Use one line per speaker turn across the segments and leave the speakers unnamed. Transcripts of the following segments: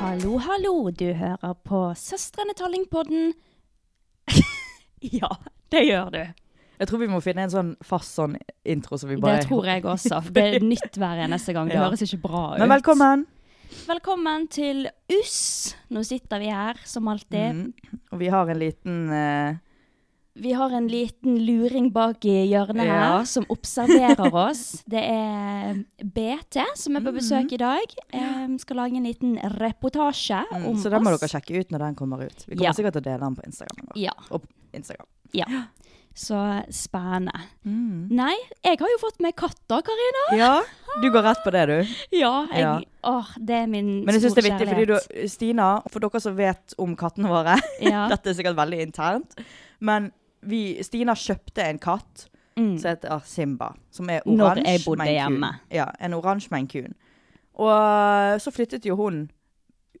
Hallo, hallo, du hører på Søstrene Tallingpodden. ja, det gjør du.
Jeg tror vi må finne en sånn fast sånn intro som vi
Det
bare
tror jeg også, for det er nytt hver eneste gang. Det
Ja.
høres ikke bra ut.
Men velkommen!
Velkommen til US. Nå sitter vi her, som alltid.
Mm. Og vi har en liten eh,
Vi har en liten luring bak i hjørnet
Ja.
her, som observerer oss. Det er BT som
Mm.
er på besøk i dag. Em, skal lage en liten reportasje
mm,
om oss.
Så den må dere sjekke ut når den kommer ut. Vi kommer
Ja.
sikkert til å dele den på Instagram. vår.
Ja,
Og på Instagram.
ja. Så spennende.
Mm.
Nei, jeg har jo fått meg katt da, Karina.
Ja, du går rett på det, du.
Ja, jeg,
Ja.
Åh, det er min
Men jeg syns det er viktig, fordi
kjærlighet.
du, Stina, for dere som vet om kattene våre
Ja.
Dette er sikkert veldig internt, men vi, Stina kjøpte en katt som heter ah, Simba. Som er
Mm. Når
oransje
jeg bodde
med en kun.
hjemme.
Ja, en oransje med en kun. Og så flyttet jo hun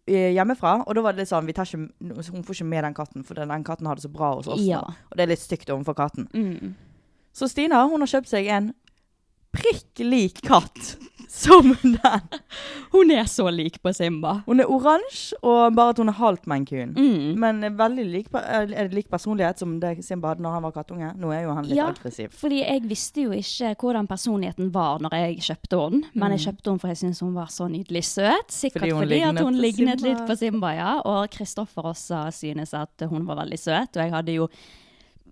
eh, hjemmefra, og da var det litt sånn vi tar ikke, Hun får ikke med den katten, for den, den katten har det så bra hos oss. nå.
Ja.
Og det er litt stygt overfor katten.
Mm.
Så Stina hun har kjøpt seg en prikk lik katt som den.
Hun er så lik på Simba.
Hun er oransje, og bare at hun er halvt med en kun.
Mm.
Men er veldig lik, pe- er- er lik personlighet som det Simba hadde når han var kattunge. Nå er jo han litt
Ja.
aggressiv.
Fordi jeg visste jo ikke hvordan personligheten var når jeg kjøpte henne. Men jeg kjøpte henne for jeg syntes hun var så nydelig søt. Sikkert
Mm.
fordi,
Fordi hun
at
lignet
hun
på
lignet
Simba.
litt på Simba, ja. Og Kristoffer også synes at hun var veldig søt. Og jeg hadde jo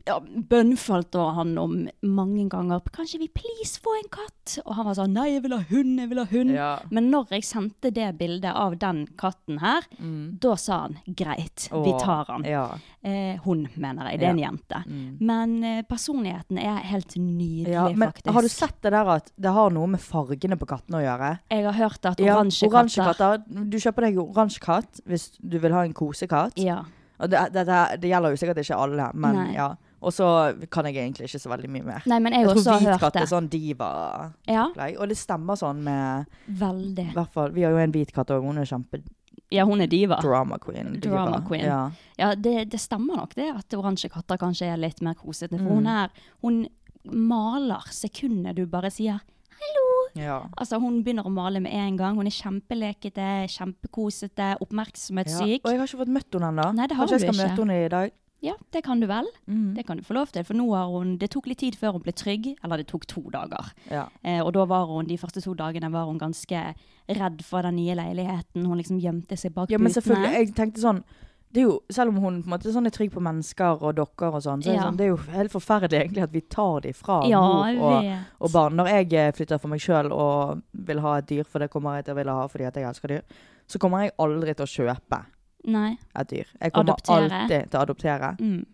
ja, bønnfalt over han om mange ganger Kanskje vi please få en katt? Og han var sånn Nei, jeg vil ha hund, jeg vil ha hund.
Ja.
Men når jeg sendte det bildet av den katten her,
Mm.
da sa han greit, vi
Og-
tar han.
Ja.
Eh, hun, mener jeg. Det er en jente. Men eh, personligheten er helt nydelig,
Mm. Ja, men
faktisk.
Har du sett det der at det har noe med fargene på kattene å gjøre?
Jeg har hørt at
Ja,
oransje
oransje
katter
katter. Du kjøper deg oransje katt hvis du vil ha en kosekatt.
ja.
Og det, det, det, det gjelder jo sikkert ikke alle, men
Nei.
ja. Og så kan jeg egentlig ikke så veldig mye mer.
Nei, men jeg,
Jeg
også
tror
har
hvit
hørt
katt
det.
er sånn diva-opplegg.
Ja,
Og det stemmer sånn med
veldig.
i hvert fall, Vi har jo en hvit katt òg, hun er kjempe-drama
Ja, hun er diva.
queen. diva.
Drama queen.
Ja.
Ja, det, det stemmer nok det at oransje katter kanskje er litt mer kosete. For hun
Mm.
er Hun maler sekundet du bare sier 'hallo'.
Ja.
Altså, hun begynner å male med en gang. Hun er kjempelekete, kjempekosete,
Ja.
oppmerksommetsyk.
Og jeg har ikke fått møtt henne ennå.
Nei, det har
Kanskje jeg
du
skal
ikke.
møte henne i dag.
Ja, det kan du vel.
Mm.
Det kan du få lov til. For nå har hun Det tok litt tid før hun ble trygg. Eller det tok to dager.
Ja.
Eh, og da var hun, de første to dagene var hun ganske redd for den nye leiligheten. Hun liksom gjemte seg bak
Ja, men selvfølgelig.
putene.
Jeg tenkte sånn det er jo, Selv om hun på en måte sånn er trygg på mennesker og dokker og sånn, så er det
Ja.
sånn, det er jo helt forferdelig egentlig at vi tar det fra
Ja, jeg
mor og,
vet.
og barn. Når jeg eh, flytter for meg sjøl og vil ha et dyr, for det kommer jeg til å ville ha fordi at jeg elsker dyr, så kommer jeg aldri til å kjøpe
Nei.
et dyr. Jeg kommer
Adoptere.
alltid til å adoptere.
Mm.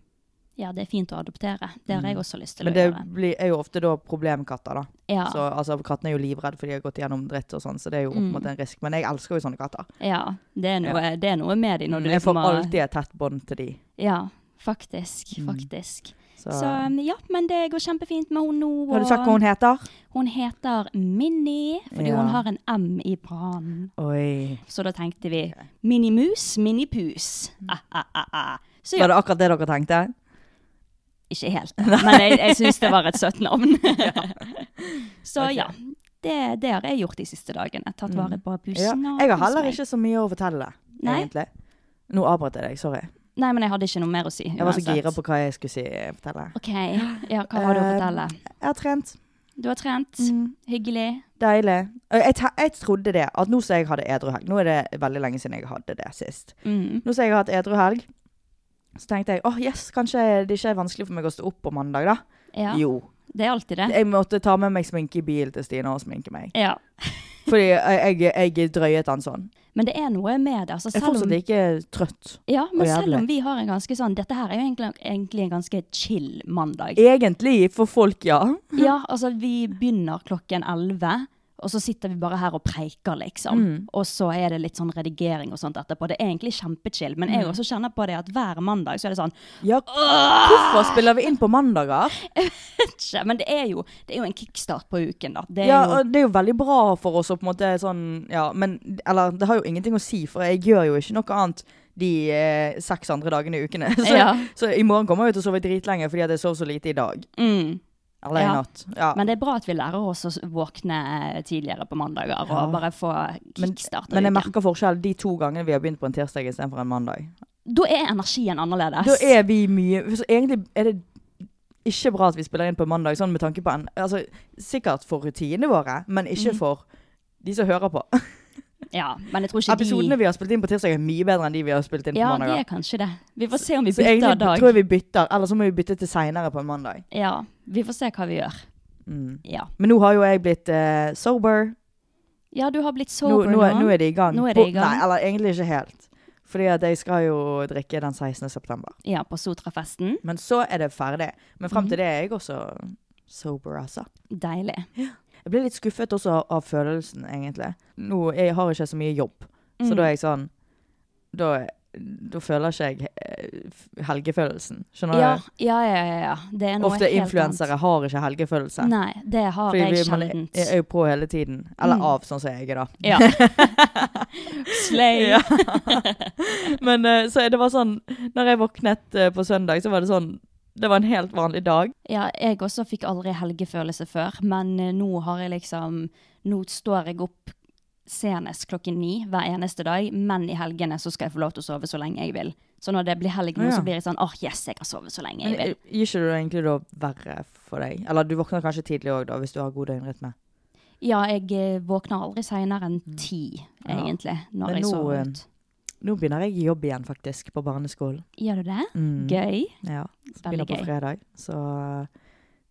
ja, det er fint å adoptere. Det har jeg også lyst til å
Mm. Men det
gjøre.
blir, er jo ofte da problemkatter, da.
Ja,
Så, altså, kattene er jo livredde fordi de har gått gjennom dritt og sånn, så det er jo
Mm.
på en måte en risk. Men jeg elsker jo sånne katter.
ja det, er noe, det er noe med de når du
Mm, Jeg får
liksom har-
alltid Mm. et tett bånd til de.
Ja, faktisk. Faktisk.
Så.
Så um, ja, men det går kjempefint med hun nå.
Har du sagt hva hun heter?
Hun heter Minni, fordi
Ja.
hun har en M i brannen.
Oi.
Så da tenkte vi Minimus, Minipus. Ah, ah, ah, ah. Så
Var
ja,
det akkurat det dere tenkte?
ikke helt, men jeg, jeg syns det var et søtt navn. så
Ok. Mm.
ja. Det, det har jeg gjort de siste dagene. Tatt vare på
Ja.
bussen. og
Jeg har
kost
heller
meg.
ikke så mye å fortelle,
Nei.
egentlig. Nå avbrøt jeg deg, sorry.
Nei, men jeg hadde ikke noe mer å si.
Jeg var så
uansett.
gira på hva jeg skulle si, eh, fortelle.
OK. Ja, hva har du å
Eh, mm.
fortelle?
Jeg har trent.
Du har trent. Hyggelig.
Deilig. Og Jeg, te- jeg trodde det, at nå som jeg hadde edru helg Nå er det veldig lenge siden jeg hadde det sist.
Mm.
Nå som jeg har hatt edru helg, så tenkte jeg åh, yes, kanskje det ikke er vanskelig for meg å stå opp på mandag, da.
Ja,
Jo.
det er alltid det.
Jeg måtte ta med meg sminke i bilen til Stine og sminke meg.
Ja.
Fordi jeg, jeg, jeg drøyet den sånn.
Men det er noe med det. Altså,
Jeg er
selv om,
fortsatt like trøtt.
ja, men
og
selv
jævlig.
om vi har en ganske sånn Dette her er jo egentlig, egentlig en ganske chill mandag.
Egentlig, for folk, ja.
Ja, altså, vi begynner klokken 11. Og så sitter vi bare her og preiker, liksom.
Mm.
Og så er det litt sånn redigering og sånt etterpå. Det er egentlig kjempechill. Men
Mm.
jeg også kjenner på det at hver mandag så er det sånn
Ja, hvorfor spiller vi inn på mandager?
Tja, Men det er jo, det er jo en kickstart på uken, da. Det er
Ja,
Eh, jo,
og det er jo veldig bra for oss å på en måte sånn Ja, men Eller det har jo ingenting å si, for jeg gjør jo ikke noe annet de eh, seks andre dagene i ukene. Så,
Ja.
så i morgen kommer jeg jo til å sove dritlenge fordi at jeg sov så lite i dag.
mm.
Eller
Ja.
i natt. Ja.
Men det er bra at vi lærer oss å s- våkne eh, tidligere på mandager og bare få
Men-
kickstart.
men jeg merker forskjell de to gangene vi har begynt på en tirsdag istedenfor en mandag.
Da er energien annerledes.
Da er vi mye Så egentlig er det ikke bra at vi spiller inn på mandag, sånn med tanke på en Altså sikkert for rutinene våre, men ikke
Mhm.
for de som hører på.
Ja, men jeg tror ikke
Episodene
de
vi har spilt inn på tirsdag, er mye bedre enn de vi har spilt inn
Ja,
på
de
mandag.
er kanskje det. Vi får se om vi
Så egentlig
bytter dag.
tror jeg vi bytter, eller så må vi bytte til seinere på en mandag.
Ja, vi får se hva vi gjør.
Mm.
Ja.
Men nå har jo jeg blitt eh, sober.
ja, du har blitt
Nå,
sober
nå, er- nå er det i gang.
Nå er det i
På-
gang.
Nei, eller egentlig ikke helt. Fordi at jeg skal jo drikke den 16. september.
Ja, på Sotrafesten.
Men så er det ferdig. Men
Mhm.
frem til det er jeg også sober, altså.
Deilig.
Jeg ble litt skuffet også av følelsen, egentlig. Nå, jeg har ikke så mye jobb. Så
Mm.
da er jeg sånn, da, da føler ikke jeg eh, helgefølelsen. Skjønner
Ja,
du?
ja, ja. ja, ja. Det er noe
Ofte
helt
influensere
annet.
har ikke helgefølelse.
Nei, det har
Fordi
jeg
vi- man er-
sjeldent. Mm.
er jo på hele tiden. Eller av, sånn som jeg er, da.
Ja. Slay.
Ja. Men eh, så det var sånn Når jeg våknet eh, på søndag, så var det sånn Det var en helt vanlig dag.
Ja, jeg også fikk aldri helgefølelse før, men eh, nå har jeg liksom Nå står jeg opp senest klokken ni hver eneste dag, men i helgene så skal jeg få lov til å sove så lenge jeg vil. Så når det blir helg nå,
Ja.
så blir jeg sånn åh, yes, jeg kan sove så lenge
Men
jeg vil.
eh, Gir ikke du egentlig da verre for deg? Eller du våkner kanskje tidlig òg, da, hvis du har god døgnrytme.
Ja, jeg eh, våkner aldri seinere enn ti, egentlig, når
Mm. Men
jeg
nå, eh,
sover ut.
Nå begynner jeg i jobb igjen, faktisk, på barneskolen.
Gjør du det?
Mm.
Gøy?
Ja, så
Veldig
begynner på
gøy.
fredag. Så eh,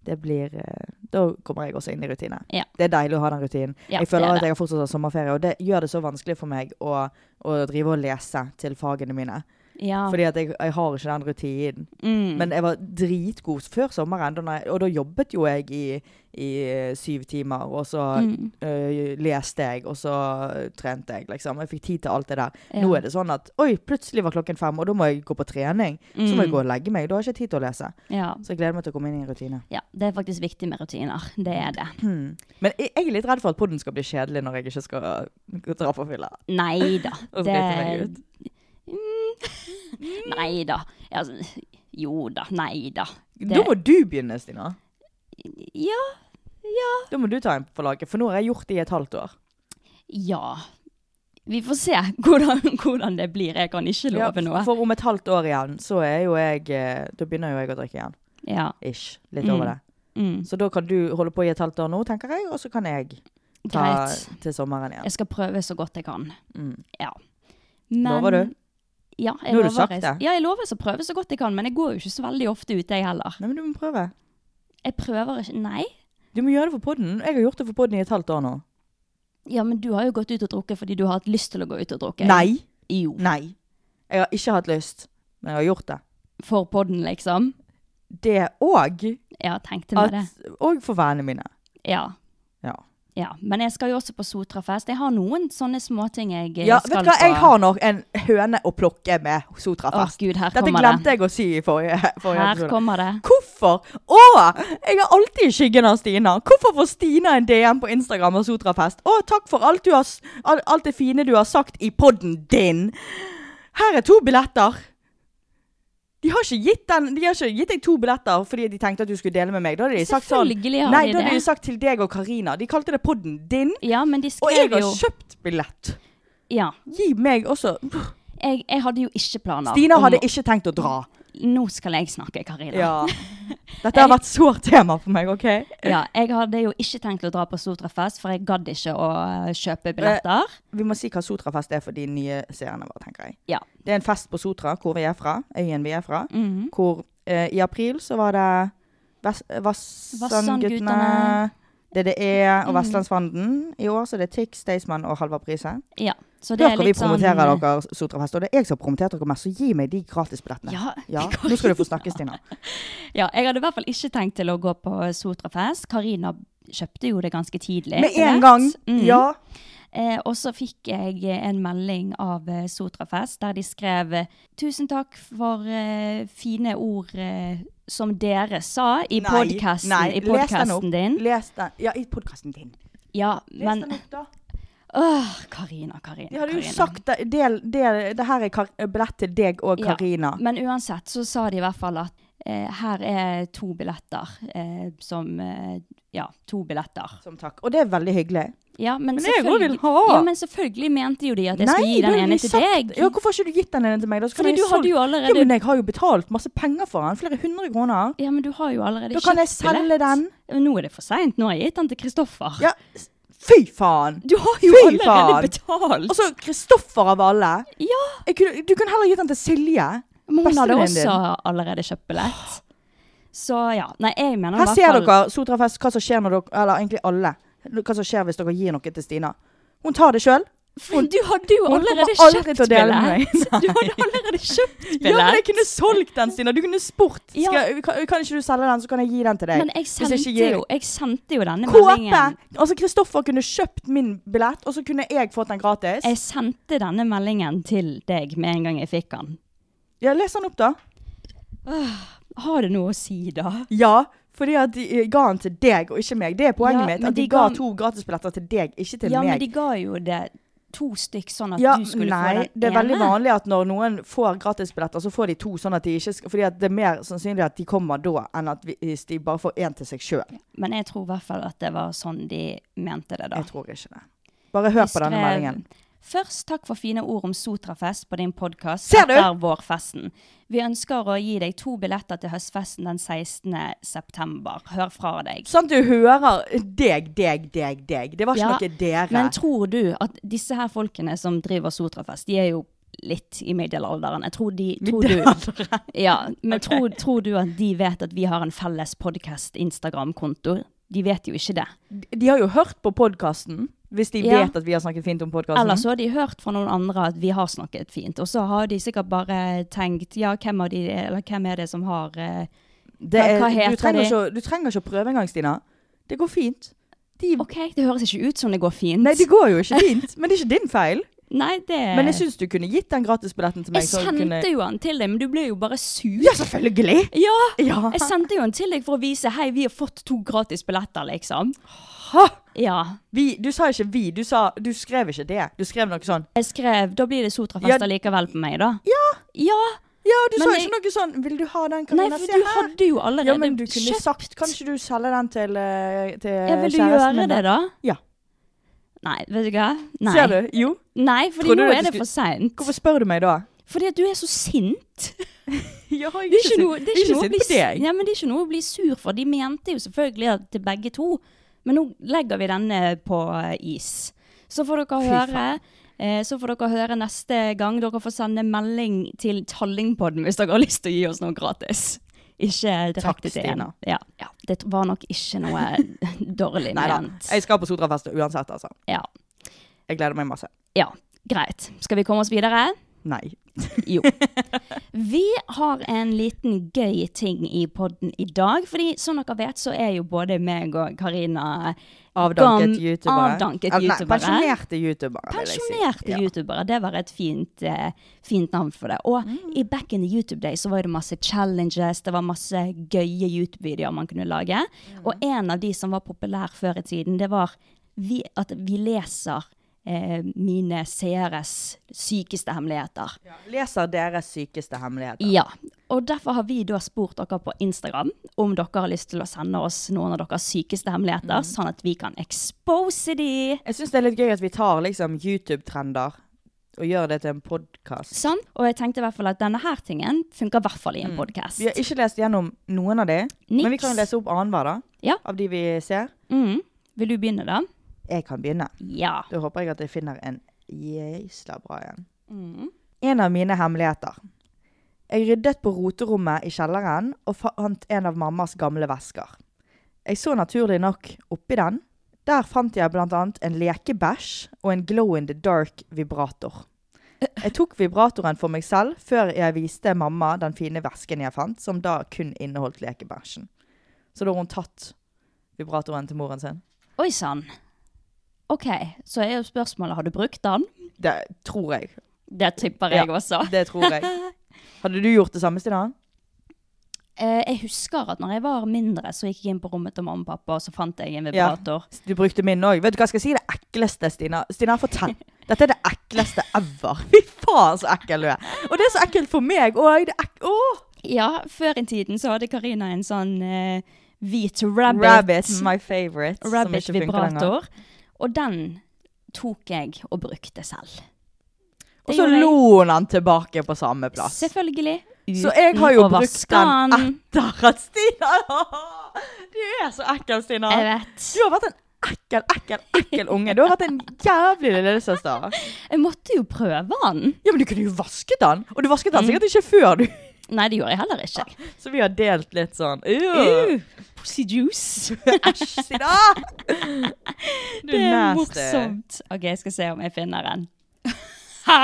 det blir eh, Da kommer jeg også inn i rutine.
Ja.
Det er deilig å ha den rutinen.
Ja,
jeg
det er
føler at
det.
jeg har fortsatt har sommerferie, og det gjør det så vanskelig for meg å, å drive og lese til fagene mine.
Ja.
Fordi at jeg, jeg har ikke den rutinen.
mm.
Men jeg var dritgod før sommeren, da når jeg- og da jobbet jo jeg i, i eh, syv timer, og så
Mm.
eh, leste jeg, og så eh, trente jeg, liksom. Jeg fikk tid til alt det der.
Ja.
Nå er det sånn at oi, plutselig var klokken fem, og da må jeg gå på trening. Så
Mm.
må jeg gå og legge meg, da har jeg ikke tid til å lese.
ja.
Så jeg gleder meg til å komme inn i en rutine.
ja. Det er faktisk viktig med rutiner. Det er det.
Men jeg, jeg er litt redd for at podden skal bli kjedelig når jeg ikke skal eh, dra på fylla.
Nei da.
Og drite meg ut.
Nei da. Altså, jo da, nei da. Det-
Da må du begynne, Stina.
Ja.
Da må du ta en på laget, for nå har jeg gjort det i et halvt år.
Ja. Vi får se hvordan, hvordan det blir. Jeg kan ikke love noe.
For om et halvt år igjen, så er jo jeg eh, Da begynner jo jeg å drikke igjen.
Ja.
Ish. Litt
Mm.
over det.
Mm.
Så da kan du holde på i et halvt år nå, tenker jeg, og så kan jeg ta
Greit.
til sommeren igjen.
Jeg skal prøve så godt jeg kan.
Mm.
Ja. Men,
Lover du?
Ja, jeg
Nå har du
lover,
sagt
jeg-
det.
Ja, jeg lover å prøve så godt jeg kan, men jeg går jo ikke så veldig ofte ute, jeg heller.
Nei, men du må prøve.
Jeg prøver ikke Nei.
Du må gjøre det for podden. Jeg har gjort det for podden i et halvt år nå.
Ja, men du har jo gått ut og drukket fordi du har hatt lyst til å gå ut og drukke.
Nei.
Jo.
Nei. Jeg har ikke hatt lyst, men jeg har gjort det.
For podden, liksom.
det òg.
Ja, tenkte meg det.
Og for vennene mine.
Ja.
Ja.
ja. Men jeg skal jo også på Sotrafest. Jeg har noen sånne småting jeg eh,
Ja, vet
skal
du hva? Jeg
på.
har nok en høne å plukke med
Å,
Sotrafest.
Gud, her
Dette
kommer
glemte
det.
jeg å si i forrige, forrige
Her
episode.
kommer det.
Hvorfor? Å! Jeg er alltid i skyggen av Stina. Hvorfor får Stina en DM på Instagram og Sotrafest? Å, takk for alt, du har, s- al- alt det fine du har sagt i podden din. Her er to billetter. De har ikke gitt, den, de har ikke gitt deg to billetter fordi de tenkte at du skulle dele med meg. Da hadde de sagt sånn
Selvfølgelig har
Nei,
de
da hadde
det.
de sagt til deg og Karina. De kalte det podden din.
Ja, men de
Og jeg
skrev
har
jo
kjøpt billett.
Ja.
Gi meg også
Jeg, jeg hadde jo ikke planer.
Stina
om
hadde
å-
ikke tenkt å dra.
Nå skal jeg snakke, Karina.
Dette har vært sårt tema for meg, OK?
Ja, jeg hadde jo ikke tenkt å dra på Sotrafest, for jeg gadd ikke å eh, kjøpe billetter.
Vi må si hva Sotrafest er for de nye seerne våre, tenker jeg.
Ja.
Det er en fest på Sotra, hvor vi er fra. Øyen vi er fra. Hvor eh, i april så var det Vest Vassandgutene,
Vassandgutene.
DDE E
Mm.
og Vestlandsfanden. I år så er det Tix, Staysman og Halvard Prise.
Ja. Så det
Før
er
vi
litt sånn
promoterer dere Sotrafest, og det er jeg som har promotert dere mest, så gi meg de gratisbillettene.
Ja,
Nå skal du få snakke, Stina.
sånn. Ja, jeg hadde i hvert fall ikke tenkt til å gå på Sotrafest. Karina kjøpte jo det ganske tidlig.
Med
jeg
en
vet.
gang!
Mm.
Ja.
Eh, og så fikk jeg eh, en melding av eh, Sotrafest der de skrev eh, 'Tusen takk for eh, fine ord eh, som dere sa i
Nei,
podkasten
nei,
i
les den
podcasten
opp.
din'.
Les den. Ja, i podkasten din.
Ja,
Les
men
den opp, da.
Åh, Karina, Karina.
De hadde jo
Karina.
sagt det, del, del, det her er kar billett til deg og
Ja,
Karina.
Men uansett så sa de i hvert fall at eh, her er to billetter eh, som eh, Ja, to billetter.
Som takk. Og det er veldig hyggelig.
Ja, men,
Men jeg òg vil
selvfølgelig-
ha.
Ja, men selvfølgelig mente jo de at jeg skulle gi
da
den
hadde
ene
de
til
sagt-
deg.
Ja, Hvorfor har ikke du gitt den ene til meg? Da skulle
Fordi
jeg
du hadde
solgt-
jo allerede-
Ja, men jeg har jo betalt masse penger for den. Flere hundre kroner.
Ja, men du har jo allerede
Da kan jeg
kjøpt billett.
selge den.
Ja, Nå er det for seint. Nå har jeg gitt den til Kristoffer.
Ja, s- fy faen!
Du har jo
Fy
allerede
faen!
betalt.
Altså, Kristoffer av alle.
ja,
Jeg kunne, du kunne heller gitt den til Silje.
men hun hadde
bestevennen din.
også allerede kjøpt billett. Så ja. Nei, jeg mener i
Her
hvert
ser
fall-
dere Sotrafest, hva som skjer når dere Eller egentlig alle. Hva som skjer hvis dere gir noe til Stina. Hun tar det sjøl.
Men Du hadde jo
Hun kommer
allerede
aldri
kjøpt
til å dele med meg.
billett. Du hadde allerede kjøpt billett.
Ja, men jeg kunne solgt den, Stina. Du kunne spurt.
Ja.
Skal, kan, kan ikke du selge den, så kan jeg gi den til deg?
Men jeg
Eh, Hvis
sendte,
ikke gir-
jo, jeg sendte jo denne
Kåpe!
meldingen.
Altså, Kristoffer kunne kjøpt min billett, og så kunne jeg fått den gratis.
Jeg sendte denne meldingen til deg med en gang jeg fikk den.
Ja, Les den opp, da.
Har det noe å si, da?
Ja, fordi at de eh, ga den til deg og ikke meg. Det er poenget
Ja,
mitt.
men
At de,
de
ga
ga-
to gratisbilletter til deg, ikke til
ja, men
meg.
de ga jo det to stykk, sånn at
ja,
du skulle
nei,
få den
det er
ene.
veldig vanlig at når noen får gratisbilletter, så får de to, sånn at de ikke skal Fordi at det er mer sannsynlig at de kommer da, enn at vi- hvis de bare får én til seg sjøl.
Men jeg tror i hvert fall at det var sånn de mente det, da.
Jeg tror ikke det. Bare hør
De
på denne
skrev,
meldingen.
Først takk for fine ord om Sotrafest på din podkast
Ser du?
etter vårfesten. Vi ønsker å gi deg to billetter til høstfesten den 16. september. Hør fra deg.
Sånn at du hører deg, deg, deg, deg. Det var ikke
Ja,
noe dere.
Men tror du at disse her folkene som driver Sotrafest, de er jo litt i middelalderen. Jeg tror de tror du, ja, Men tror, tror du at de vet at vi har en felles podkast-instagram-konto? De vet jo ikke det.
de har jo hørt på podkasten, hvis de
Ja.
vet at vi har snakket fint om
Eller
podkasten.
så har de hørt fra noen andre at vi har snakket fint, og så har de sikkert bare tenkt ja, hvem, av de, eller hvem er det som har eh,
Det
Men
er-
hva
du
heter
trenger
de?
Ikke, å- du trenger ikke å prøve engang, Stina. Det går fint. De,
OK, det høres ikke ut som det går fint.
Nei, det går jo ikke fint. Men det er ikke din feil.
Nei, det
Men jeg syns du kunne gitt den gratisbilletten til meg.
Jeg
så
sendte
kunne...
jo den til deg, men du ble jo bare sur.
Ja, selvfølgelig!
Ja!
Ja.
Jeg sendte jo den til deg for å vise hei, vi har fått to gratis billetter, liksom.
Ha!
Ja.
Vi, du sa ikke 'vi', du, sa, du skrev ikke det. Du skrev noe sånn
Jeg skrev da blir det Sotrafest
Ja.
allikevel på meg, da.
Ja!
Ja!
Ja, du
Men
sa
jeg-
ikke noe sånn 'vil du ha den',
Nei,
Karina?
for
Se
du
her.
hadde jo allerede
Ja, men du kunne
kjøpt.
sagt Kan ikke du selge den til, eh, til
ja, vil du
kjæresten
gjøre
min,
det, da?
Ja.
Nei, vet du hva? Nei.
Ser du? Jo.
Nei, fordi
Trodde
nå
du at
er
du
det for seint.
Hvorfor spør du meg da?
Fordi at du er så sint.
Ja, jeg
Det er ikke noe, det er ikke noe å bli,
på deg.
ja, men det er ikke noe å bli sur for. De mente jo selvfølgelig at til begge to. Men nå legger vi denne på eh, is. Så får dere høre eh, så får dere høre neste gang. Dere får sende melding til Tallingpodden hvis dere har lyst til å gi oss noe gratis. Ikke
Takk,
direkte til en.
Stina.
Ja. ja, det var nok ikke noe dårlig
Nei da.
ment.
Jeg skal på Sotrafest uansett, altså.
Ja.
Jeg gleder meg masse.
ja, greit. Skal vi komme oss videre?
Nei.
Jo. Vi har en liten gøy ting i podden i dag. Fordi som dere vet, så er jo både meg og Karina
Avdanket
gam-
youtubere.
Avdanket
Eller nei,
youtubere.
Pensjonerte youtubere, vil jeg si.
Pensjonerte
Ja.
youtubere. Det var et fint, eh, fint navn for det. Og
Mm.
i back in the YouTube day så var det masse challenges, det var masse gøye YouTube-videoer man kunne lage.
Mm.
Og en av de som var populær før i tiden, det var vi, at vi leser eh, mine seeres sykeste hemmeligheter.
Leser deres sykeste hemmeligheter.
Ja, og derfor har vi da spurt dere på Instagram om dere har lyst til å sende oss noen av deres sykeste
Mm.
hemmeligheter, sånn at vi kan expose de.
Jeg syns det er litt gøy at vi tar liksom YouTube-trender og gjør det til en podkast.
Sånn, og jeg tenkte i hvert fall at denne her tingen funker i hvert fall i en podcast.
Vi har ikke lest gjennom noen av de, Mm. men vi
Niks.
kan jo lese opp annenhver, da.
Ja.
Av de vi ser.
Mm. Vil du begynne da?
Jeg kan begynne.
Ja.
Da håper jeg at jeg finner en jæsla bra en. Mm. En av mine hemmeligheter. Jeg ryddet på roterommet i kjelleren og fant en av mammas gamle vesker. Jeg så naturlig nok oppi den. Der fant jeg bl.a. en lekebæsj og en glow in the dark vibrator. Jeg tok vibratoren for meg selv før jeg viste mamma den fine vesken jeg fant, som da kun inneholdt lekebæsjen. Så da har hun tatt vibratoren til moren sin.
Oi, sann. Ok, så er jo spørsmålet, har du brukt den?
Det tror jeg.
Det tipper jeg
Ja,
også.
Det tror jeg. Hadde du gjort det samme, Stina?
Eh, jeg husker at når jeg var mindre, så gikk jeg inn på rommet til mamma og pappa, og så fant jeg en vibrator.
Du brukte min òg. Vet du hva jeg skal si? Det ekleste, Stina. Stina, fortell. Dette er det ekleste ever. Fy faen, så ekkel du er. Og det er så ekkelt for meg òg. Ek Åh!
Ja, før i tiden så hadde Karina en sånn eh, hvit rabbit,
Rabbit, my favorite. som
rabbit
ikke funker lenger.
vibrator. Og den tok jeg og brukte selv.
Og så lo hun den tilbake på samme plass.
Selvfølgelig.
Så jeg har jo
å
brukt
vaske
den
den.
etter at Stina Du er så ekkel, Stina.
Jeg vet.
Du har vært en ekkel, ekkel, ekkel unge. Du har vært en jævlig lillesøster.
Jeg måtte jo prøve den.
Ja, men du kunne jo vasket den! Og du vasket den sikkert ikke før, du.
Nei, det gjorde jeg heller ikke.
Mm. Så vi har delt litt sånn
Uh,
«Ew,
pussy juice.
Æsj, Sida! Du
Det er
nasty.
morsomt. Ok, jeg skal se om jeg finner en.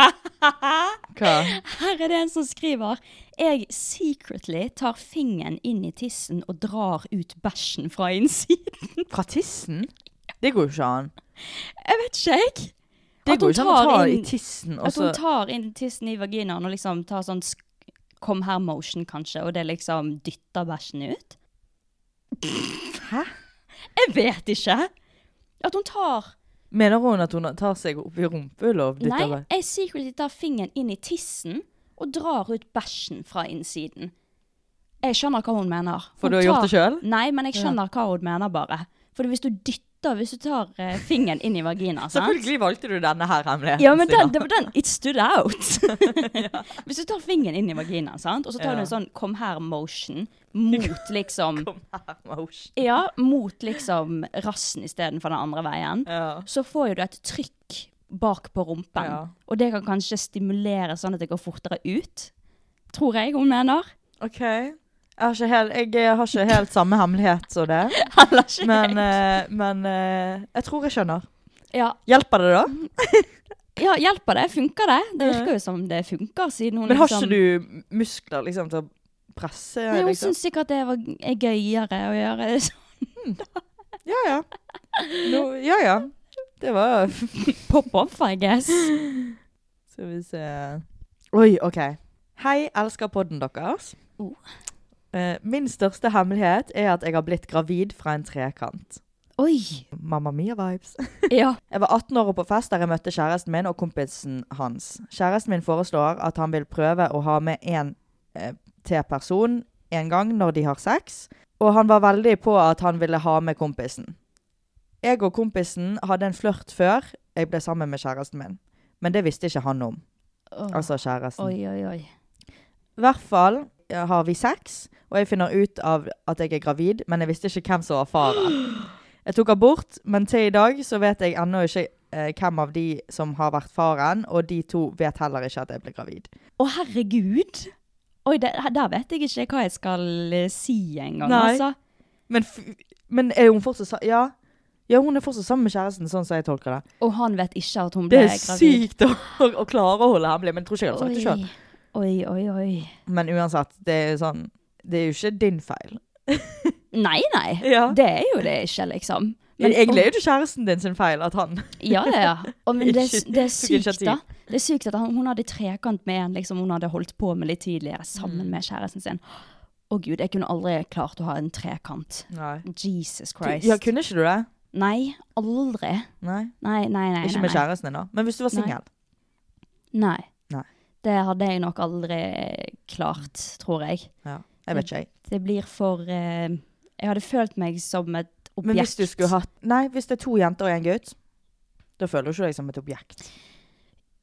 Hva?
Her er det en som skriver Jeg secretly tar fingeren inn i tissen og drar ut bæsjen fra innsiden.
Fra tissen? Det går jo ikke an.
Jeg vet ikke, jeg.
Det
At
går
hun
jo ikke an å ta
tar
i
inn-
tissen, og
At
så
hun tar inn tissen i vaginaen og liksom tar sånn sk- kom her motion, kanskje, og det liksom dytter bæsjen ut.
Hæ?
Jeg vet ikke. At hun tar
Mener hun at hun tar seg opp i rumpehullet og dytter
Nei, jeg secretly tar fingeren inn i tissen og drar ut bæsjen fra innsiden. Jeg skjønner hva hun mener.
For
Hun
du har gjort det
tar-
selv?
Nei, men jeg skjønner hva hun mener bare. For hvis du dytter, hvis du tar eh, fingeren inn i vagina, sant?
Selvfølgelig valgte du denne her hemmeligheten,
Ja, men den,
Stina.
det var den, it stood out. Hvis du tar fingeren inn i vaginaen, sant? og så tar du en sånn kom her motion mot liksom
Kom her, Mosh.
Ja, mot liksom rassen istedenfor den andre veien,
Ja.
så får jo du et trykk bak på rumpen.
Ja.
Og det kan kanskje stimulere sånn at det går fortere ut. Tror jeg hun mener.
OK. Jeg har, ikke helt, jeg har ikke helt samme hemmelighet som det,
Eller ikke.
men, eh, men eh, jeg tror jeg skjønner.
ja.
Hjelper det, da?
Mm, ja, hjelper det? Funker det? Det virker jo som det funker, siden hun
Men har
liksom-
ikke du muskler liksom til å presse?
Nei, Hun
liksom?
syns sikkert det var er gøyere å gjøre det sånn.
Ja ja. No, ja ja. Det var
Pop-off, I guess.
Skal vi se Oi, OK. Hei, elsker podden deres.
Oh.
Eh, Min største hemmelighet er at jeg har blitt gravid fra en trekant.
Oi!
Mamma Mia-vibes.
Ja.
Jeg var 18 år og på fest der jeg møtte kjæresten min og kompisen hans. Kjæresten min foreslår at han vil prøve å ha med en eh, til person en gang når de har sex, og han var veldig på at han ville ha med kompisen. Jeg og kompisen hadde en flørt før jeg ble sammen med kjæresten min, men det visste ikke han om.
Åh.
Altså kjæresten.
Oi, oi, oi.
I hvert fall eh, har vi sex, og jeg finner ut av at jeg er gravid, men jeg visste ikke hvem som var faren. Jeg tok abort, men til i dag så vet jeg ennå ikke eh, hvem av de som har vært faren, og de to vet heller ikke at jeg ble gravid.
Å, herregud! Oi, der, der vet jeg ikke hva jeg skal eh, si engang,
Nei.
altså.
Men, f men er hun fortsatt sa... Ja. Ja, hun er fortsatt sammen med kjæresten, sånn som jeg tolker det.
Og han vet ikke at hun
Det
ble
er
gravid.
sykt å, å klare å holde hemmelig, men jeg tror ikke jeg hadde sagt det sjøl.
Oi, oi, oi.
Men uansett, det er sånn Det er jo ikke din feil.
Nei, nei.
Ja.
Det er jo det ikke, liksom.
Men egentlig
og,
er det jo kjæresten din sin feil at han
Ja, ja, ja. Og, men det,
Ikke-
det er
tok
sykt,
initiativ.
da. Det er sykt at han, hun hadde trekant med en liksom, hun hadde holdt på med litt tidligere, sammen med kjæresten sin. Å gud, jeg kunne aldri klart å ha en trekant.
Nei.
Jesus Christ.
Ja, kunne ikke du det?
Nei, aldri.
Nei.
Nei, nei, nei.
Ikke
nei,
med
nei.
kjæresten din, da. Men hvis du var
Nei.
singel.
Nei.
Nei.
Det hadde jeg nok aldri eh, klart, tror jeg.
Ja. Jeg vet ikke, jeg.
Det blir for eh, Jeg hadde følt meg som et objekt.
Men hvis du skulle hatt Nei, hvis det er to jenter og en gutt, da føler du ikke deg som et objekt.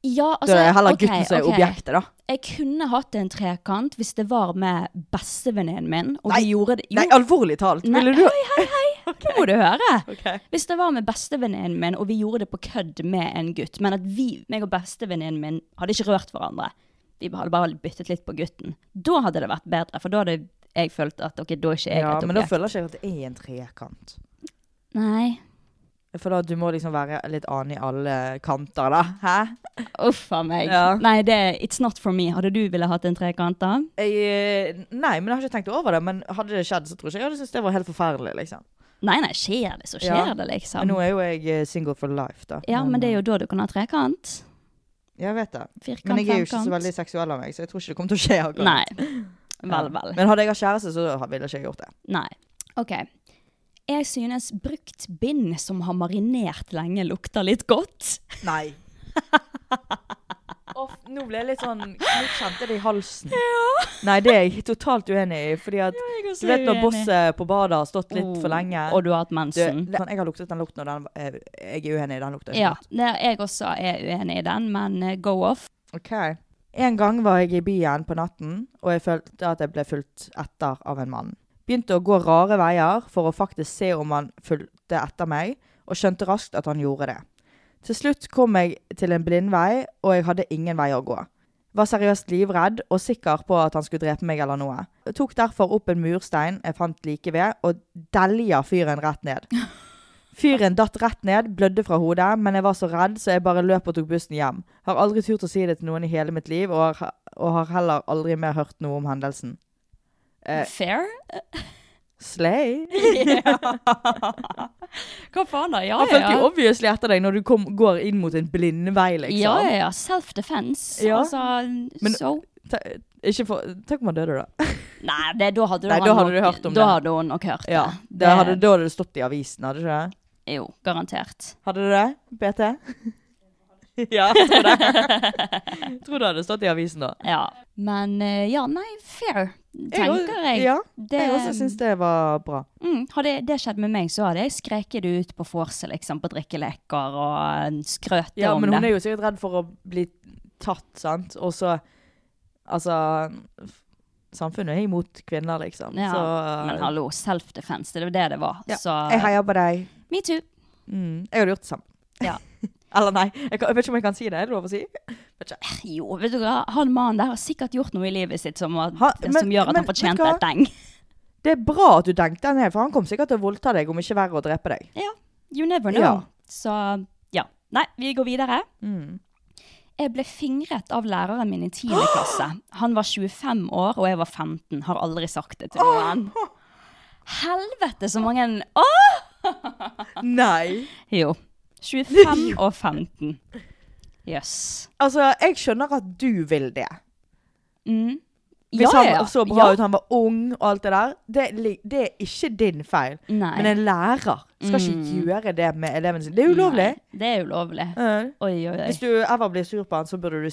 ja,
Da er det
Altså,
heller
ok,
gutten som er
ok.
objektet, da.
Jeg kunne hatt en trekant hvis det var med bestevenninnen min. Og
Nei,
vi gjorde det
Nei, alvorlig talt.
Nei,
Ville du
Hei, hei, hei! Nå må du høre.
Ok.
Hvis det var med bestevenninnen min, og vi gjorde det på kødd med en gutt, men at vi, meg og bestevenninnen min, hadde ikke rørt hverandre. Vi hadde bare byttet litt på gutten. Da hadde det vært bedre, for da hadde jeg følt at ok, da er ikke jeg
Ja,
et
men da
objekt.
føler ikke jeg at det er en trekant.
Nei.
Jeg føler at du må liksom være litt annen i alle kanter, da. Hæ?
Uff a meg.
Ja.
Nei, det it's not for me. Hadde du ville hatt en trekant, da?
Jeg, eh, nei, men jeg har ikke tenkt over det. Men hadde det skjedd, så tror ikke jeg hadde syntes det var helt forferdelig, liksom.
Nei, nei, skjer det, så
Ja.
skjer det, liksom.
Men nå er jo jeg eh, single for life, da.
Ja, men det er
eh,
jo da du kan ha trekant.
Jeg vet det.
Firkant,
Men jeg er jo ikke så
femkant.
veldig seksuell av meg, så jeg tror ikke det kommer til å skje. akkurat.
Nei.
Ja.
Vel, vel.
Men hadde jeg hatt kjæreste, så ville ikke jeg gjort det.
Nei. OK. Jeg synes brukt bind som har marinert lenge, lukter litt godt.
Nei. nå ble jeg litt sånn Nå kjente det i halsen.
Ja.
Nei, det er jeg totalt uenig i. Fordi at
jeg er også
du vet når
uenig. Oh,
bosset på badet har stått litt for lenge
Og du har hatt
du,
mensen.
sånn, Jeg har luktet den lukten, og den, eh, jeg er uenig i den lukten.
ja, det, jeg også er uenig i den, men eh, go off.
Ok. En gang var jeg i byen på natten, og jeg følte at jeg ble fulgt etter av en mann. Begynte å gå rare veier for å faktisk se om han fulgte etter meg, og skjønte raskt at han gjorde det. Til slutt kom jeg til en blindvei, og jeg hadde ingen vei å gå. Var seriøst livredd og sikker på at han skulle drepe meg eller noe. Jeg tok derfor opp en murstein jeg fant like ved, og delja fyren rett ned. Fyren datt rett ned, blødde fra hodet, men jeg var så redd, så jeg bare løp og tok bussen hjem. Har aldri turt å si det til noen i hele mitt liv, og har, og har heller aldri mer hørt noe om hendelsen. Eh,
Fair?
Slay?
Hva faen, da? Ja,
Han fulgte jo
ja.
obviously etter deg når du kom, går inn mot en blindvei, liksom.
Ja, ja, ja. Self-defense.
Ja.
Altså,
Men-
so
Ta, ikke for, tenk om han døde, da.
Nei, det, da hadde,
Nei,
han
da hadde
nok,
du hørt om
da
det.
hadde hun nok hørt det.
Ja, det hadde, da hadde det stått i avisen, hadde ikke det?
Jo, garantert.
Hadde det det? BT? ja, jeg tror det. Jeg tror det hadde stått i avisen da.
Ja. Men eh, ja, nei, fair, tenker jeg.
Ja,
Det-
jeg også syns det var bra.
Mm, hadde det skjedd med meg, så hadde jeg skreket det ut på vorset, liksom, på drikkeleker og eh, skrøt det
Ja,
om
men hun
det.
er jo sikkert redd for å bli tatt, sant? Og så Altså f- Samfunnet er imot kvinner, liksom.
ja,
så
Men hallo, eh. self-defense, det var det det var.
Ja,
Så
Jeg heier på deg.
me too.
Mm, jeg hadde gjort det samme.
Ja.
Eller nei. Jeg, kan, jeg vet ikke om jeg kan si det. Er det lov å si? Vet ikke.
Jo, vet du hva, han mannen der har sikkert gjort noe i livet sitt som, var-
Ha- men-
som gjør at
men
han
vet du
fortjente
hva?
et deng.
Det er bra at du tenkte den her, for han kom sikkert til å voldta deg, om ikke verre å drepe deg.
Ja, you never know.
Ja.
Så ja. Nei, vi går videre.
Mm.
Jeg ble fingret av læreren min i 10. klasse. Han var 25 år, og jeg var 15. Har aldri sagt det til noen. Helvete, så mange Åh!
Nei.
Jo. 25 og 15. Jøss. Yes.
Altså, jeg skjønner at du vil det.
Mm.
Hvis
Ja, ja, ja.
han så bra
Ja.
ut, han var ung og alt det der. Det, li- det er ikke din feil.
Nei. Mm.
Men en lærer skal ikke gjøre det med eleven sin. Det er ulovlig.
Nei, det er ulovlig.
Eh,
Oi, oi, oi.
Hvis du ever blir sur på han, så burde du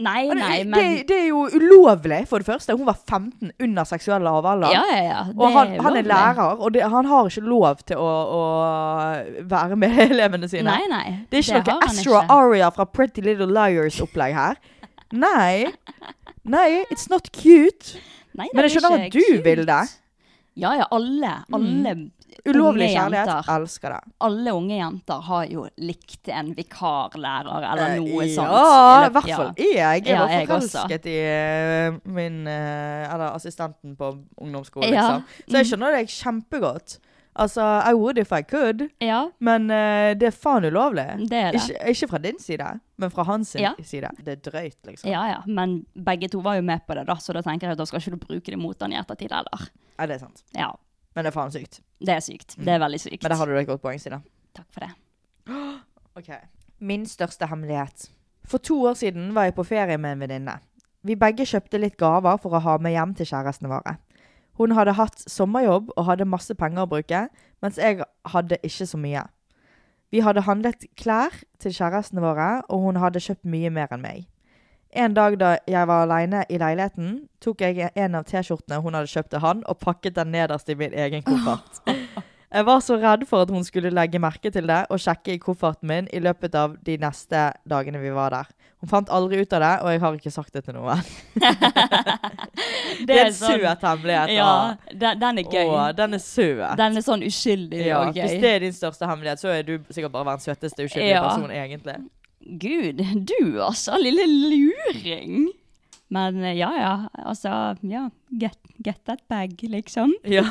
Nei,
Men
nei,
det-
men
det, det er jo ulovlig, for det første. Hun var 15 under seksuell lavalder.
Ja, ja, ja. Det
Og han, han er
ulovlig.
lærer, og det, han har ikke lov til å, å være med elevene sine.
Nei, nei.
Det er ikke
har
noe
han
Ezra
ikke.
Aria fra Pretty Little Liars-opplegg her. Nei. Nei, it's not cute.
Nei,
Men
det
jeg
er
skjønner
ikke
at du
kult.
vil det. Mm.
Ja, ja, alle. Alle
Ulovlig
unge
kjærlighet.
Jenter,
Elsker det.
alle unge jenter har jo likt en vikarlærer eller noe
Eh,
sånt.
Ja,
løpet-
i hvert fall jeg. Jeg
Ja,
var
jeg også.
forelsket i eh, min eh, Eller assistenten på ungdomsskolen,
Ja, Mm.
liksom. Så jeg skjønner deg kjempegodt. Altså, I would if I could.
Ja.
Men eh, det er faen ulovlig.
Det er det.
Ikke, ikke fra din side, men fra hans sin
Ja.
side. Det er drøyt, liksom.
Ja, ja, men begge to var jo med på det, da, så da tenker jeg at da skal ikke du bruke det mot han i ettertid heller.
Ja, det er sant.
Ja,
Men det er faen sykt.
det er sykt. Det er veldig sykt.
Mm. Men der har du et godt poeng, Stina.
Takk for det.
Min største hemmelighet. For to år siden var jeg på ferie med en venninne. Vi begge kjøpte litt gaver for å ha med hjem til kjærestene våre. Hun hadde hatt sommerjobb og hadde masse penger å bruke, mens jeg hadde ikke så mye. Vi hadde handlet klær til kjærestene våre, og hun hadde kjøpt mye mer enn meg. En dag da jeg var aleine i leiligheten, tok jeg en av T-skjortene hun hadde kjøpt til han, og pakket den nederst i min egen koffert. Jeg var så redd for at hun skulle legge merke til det og sjekke i kofferten min i løpet av de neste dagene vi var der. Hun fant aldri ut av det, og jeg har ikke sagt det til noen. Det er en
sånn-
søt hemmelighet.
Ja,
da.
den, den er gøy.
Å, den er søt.
Den er sånn uskyldig
ja,
og
hvis
gøy.
det er din største hemmelighet, så er du sikkert bare verdens søteste uskyldige
Ja.
person, egentlig.
Gud, du altså, lille luring. Men eh, ja, ja, altså, ja, get, get that bag, liksom.
Ja.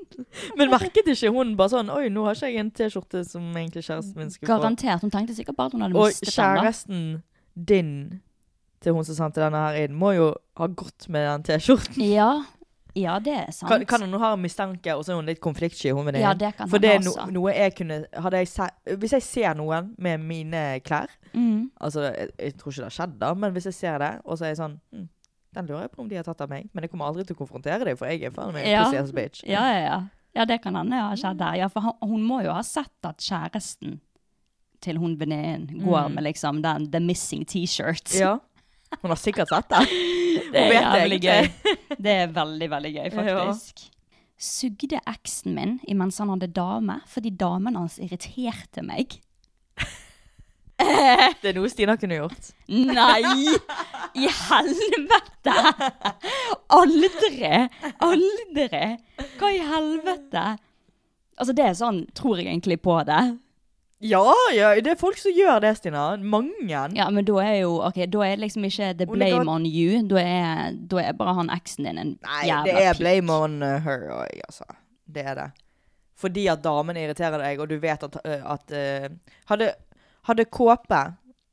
Men merket ikke hun bare sånn Oi, nå har ikke jeg en T-skjorte som egentlig kjæresten min skulle få.
Garantert, hun tenkte sikkert bare at hun hadde
Og
mistet den da.
kjæresten din til hun som sendte denne her inn, må jo ha gått med den T-skjorten.
Ja, ja, det er sant.
Kan, kan hun ha en mistanke, og så er hun litt konfliktsky? Hun venninnen?
Ja, det kan
For
han
det er no,
også.
noe jeg kunne hadde jeg se, Hvis jeg ser noen med mine klær
Mm.
Altså, jeg, jeg tror ikke det har skjedd, da, men hvis jeg ser det, og så er jeg sånn hm, Den lurer jeg på om de har tatt av meg, men jeg kommer aldri til å konfrontere dem, for jeg er faen meg en
Ja.
pussy ass bitch.
Ja, ja, ja. Ja, det kan hende ha skjedd der. Ja, for han, hun må jo ha sett at kjæresten til hun venninnen går med liksom den The Missing T-shirt.
Ja. Hun har sikkert sett det.
det
hun
er
vet
jævlig
egentlig.
gøy. Det er veldig, veldig gøy, faktisk. Sugde eksen min imens han hadde dame, fordi damen hans irriterte meg.
Det er noe Stina kunne gjort.
Nei! I helvete! Aldri! Aldri! Hva i helvete? Altså, det er sånn Tror jeg egentlig på det?
Ja, ja, det er folk som gjør det, Stina. Mange.
Ja, men da er jo Ok, da er liksom ikke the
Og det
blame
kan-
on you. Da er, da er bare han eksen din en
Nei,
jævla
det er
pikk.
blame on uh, her òg, altså. Det er det. Fordi at damene irriterer deg, og du vet at, uh, at uh, Hadde, hadde Kåpe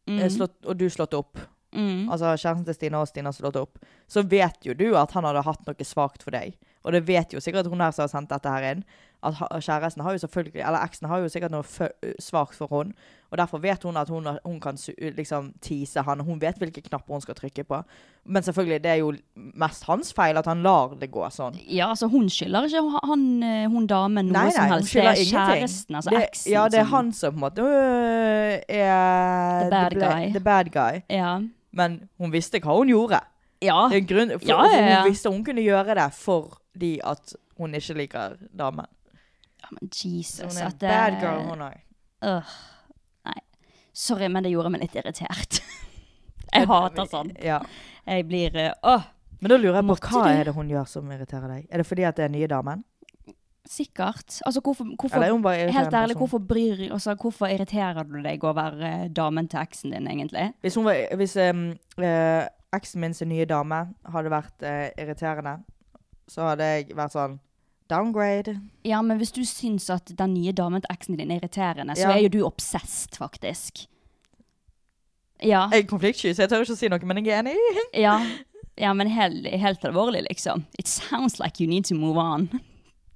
eh, slått, og du slått opp,
Mm.
altså kjæresten til Stina og Stina slått opp, så vet jo du at han hadde hatt noe svakt for deg. Og det vet jo sikkert hun her som har sendt dette her inn, at ha- kjæresten har jo selvfølgelig, eller eksen har jo sikkert noe fø- svakt for hun, og derfor vet hun at hun, hun kan su- liksom tease han, og hun vet hvilke knapper hun skal trykke på. Men selvfølgelig, det er jo mest hans feil at han lar det gå sånn.
Ja, altså hun skylder ikke han- han, eh, hun damen noe som helst. Det er kjæresten, altså
det,
eksen.
Ja, det er
som-
han som på en måte øh, er
The bad
the bla-
guy.
The bad guy.
Ja.
Men hun visste hva hun gjorde.
ja.
Det er en grunn, for,
Ja, ja, ja.
for Hun visste hun kunne gjøre det fordi at hun ikke liker damen.
Ja, men Jesus.
Så hun er en
at eh, det-
bad girl, hun òg.
Øh, nei. Sorry, men det gjorde meg litt irritert. jeg hater sånn.
Ja.
Jeg blir eh, Åh!
Men da lurer jeg på
Måtte
hva
du?
er det hun gjør som irriterer deg? Er det fordi at det er nye damen?
Sikkert. Altså, hvorfor, hvorfor
Eller er hun bare irriterende
Helt ærlig,
person?
hvorfor bryr altså, Hvorfor irriterer du deg over eh, damen til eksen din, egentlig?
Hvis, hun var, hvis em, eh, eksen min sin nye dame hadde vært eh, irriterende, så hadde jeg vært sånn Downgrade.
Ja, men hvis du syns at den nye damen til eksen din er irriterende, så
Ja.
er jo du obsessed, faktisk. Ja.
Jeg er konfliktsky, så jeg tør ikke å si noe, men jeg er enig.
Ja, ja men helt, helt alvorlig, liksom. It sounds like you need to move on.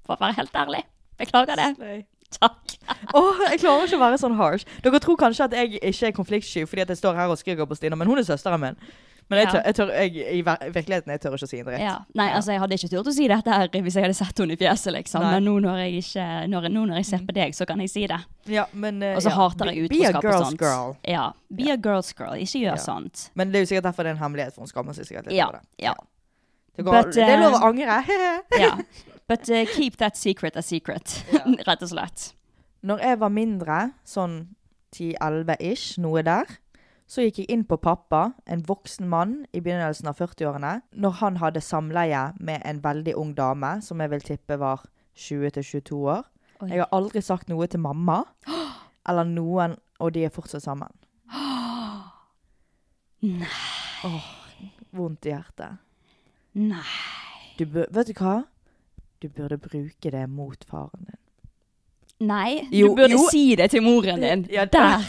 For å være helt ærlig. Beklager det. Takk.
Åh, jeg klarer ikke å være sånn harsh. Dere tror kanskje at jeg ikke er konfliktsky fordi at jeg står her og skriker på Stina, men hun er søsteren min. Men jeg
Ja.
tør, jeg tør, jeg, i ver- virkeligheten jeg tør ikke å si en dritt.
Ja. Nei, altså, jeg hadde ikke turt å si dette her hvis jeg hadde sett henne i fjeset, liksom.
Nei.
Men nå når, jeg ikke, når, nå når jeg ser på deg, så kan jeg si det.
Ja, men, eh,
Og så
ja.
hater jeg
Be-
utroskap
Be a
og
girl's
sånt.
girl.
Ja. Be a girl's girl. Ikke gjør sånt.
Men det er jo sikkert derfor det er en hemmelighet, for hun skammer seg sikkert litt
Ja.
over det.
ja.
Det, går,
But,
det er lov å
eh,
angre.
ja. But uh, keep that secret a secret, rett og slett.
Når jeg var mindre, sånn 10-11-ish, noe der, så gikk jeg inn på pappa, en voksen mann i begynnelsen av 40-årene, når han hadde samleie med en veldig ung dame, som jeg vil tippe var 20-22 år.
Oi.
Jeg har aldri sagt noe til mamma, eller noen, og de er fortsatt sammen. Nei. vondt i hjertet.
Nei.
Du bør, vet du hva? Du burde bruke det mot faren din.
Nei,
Jo,
du burde
jo.
si det til moren din.
Ja,
der.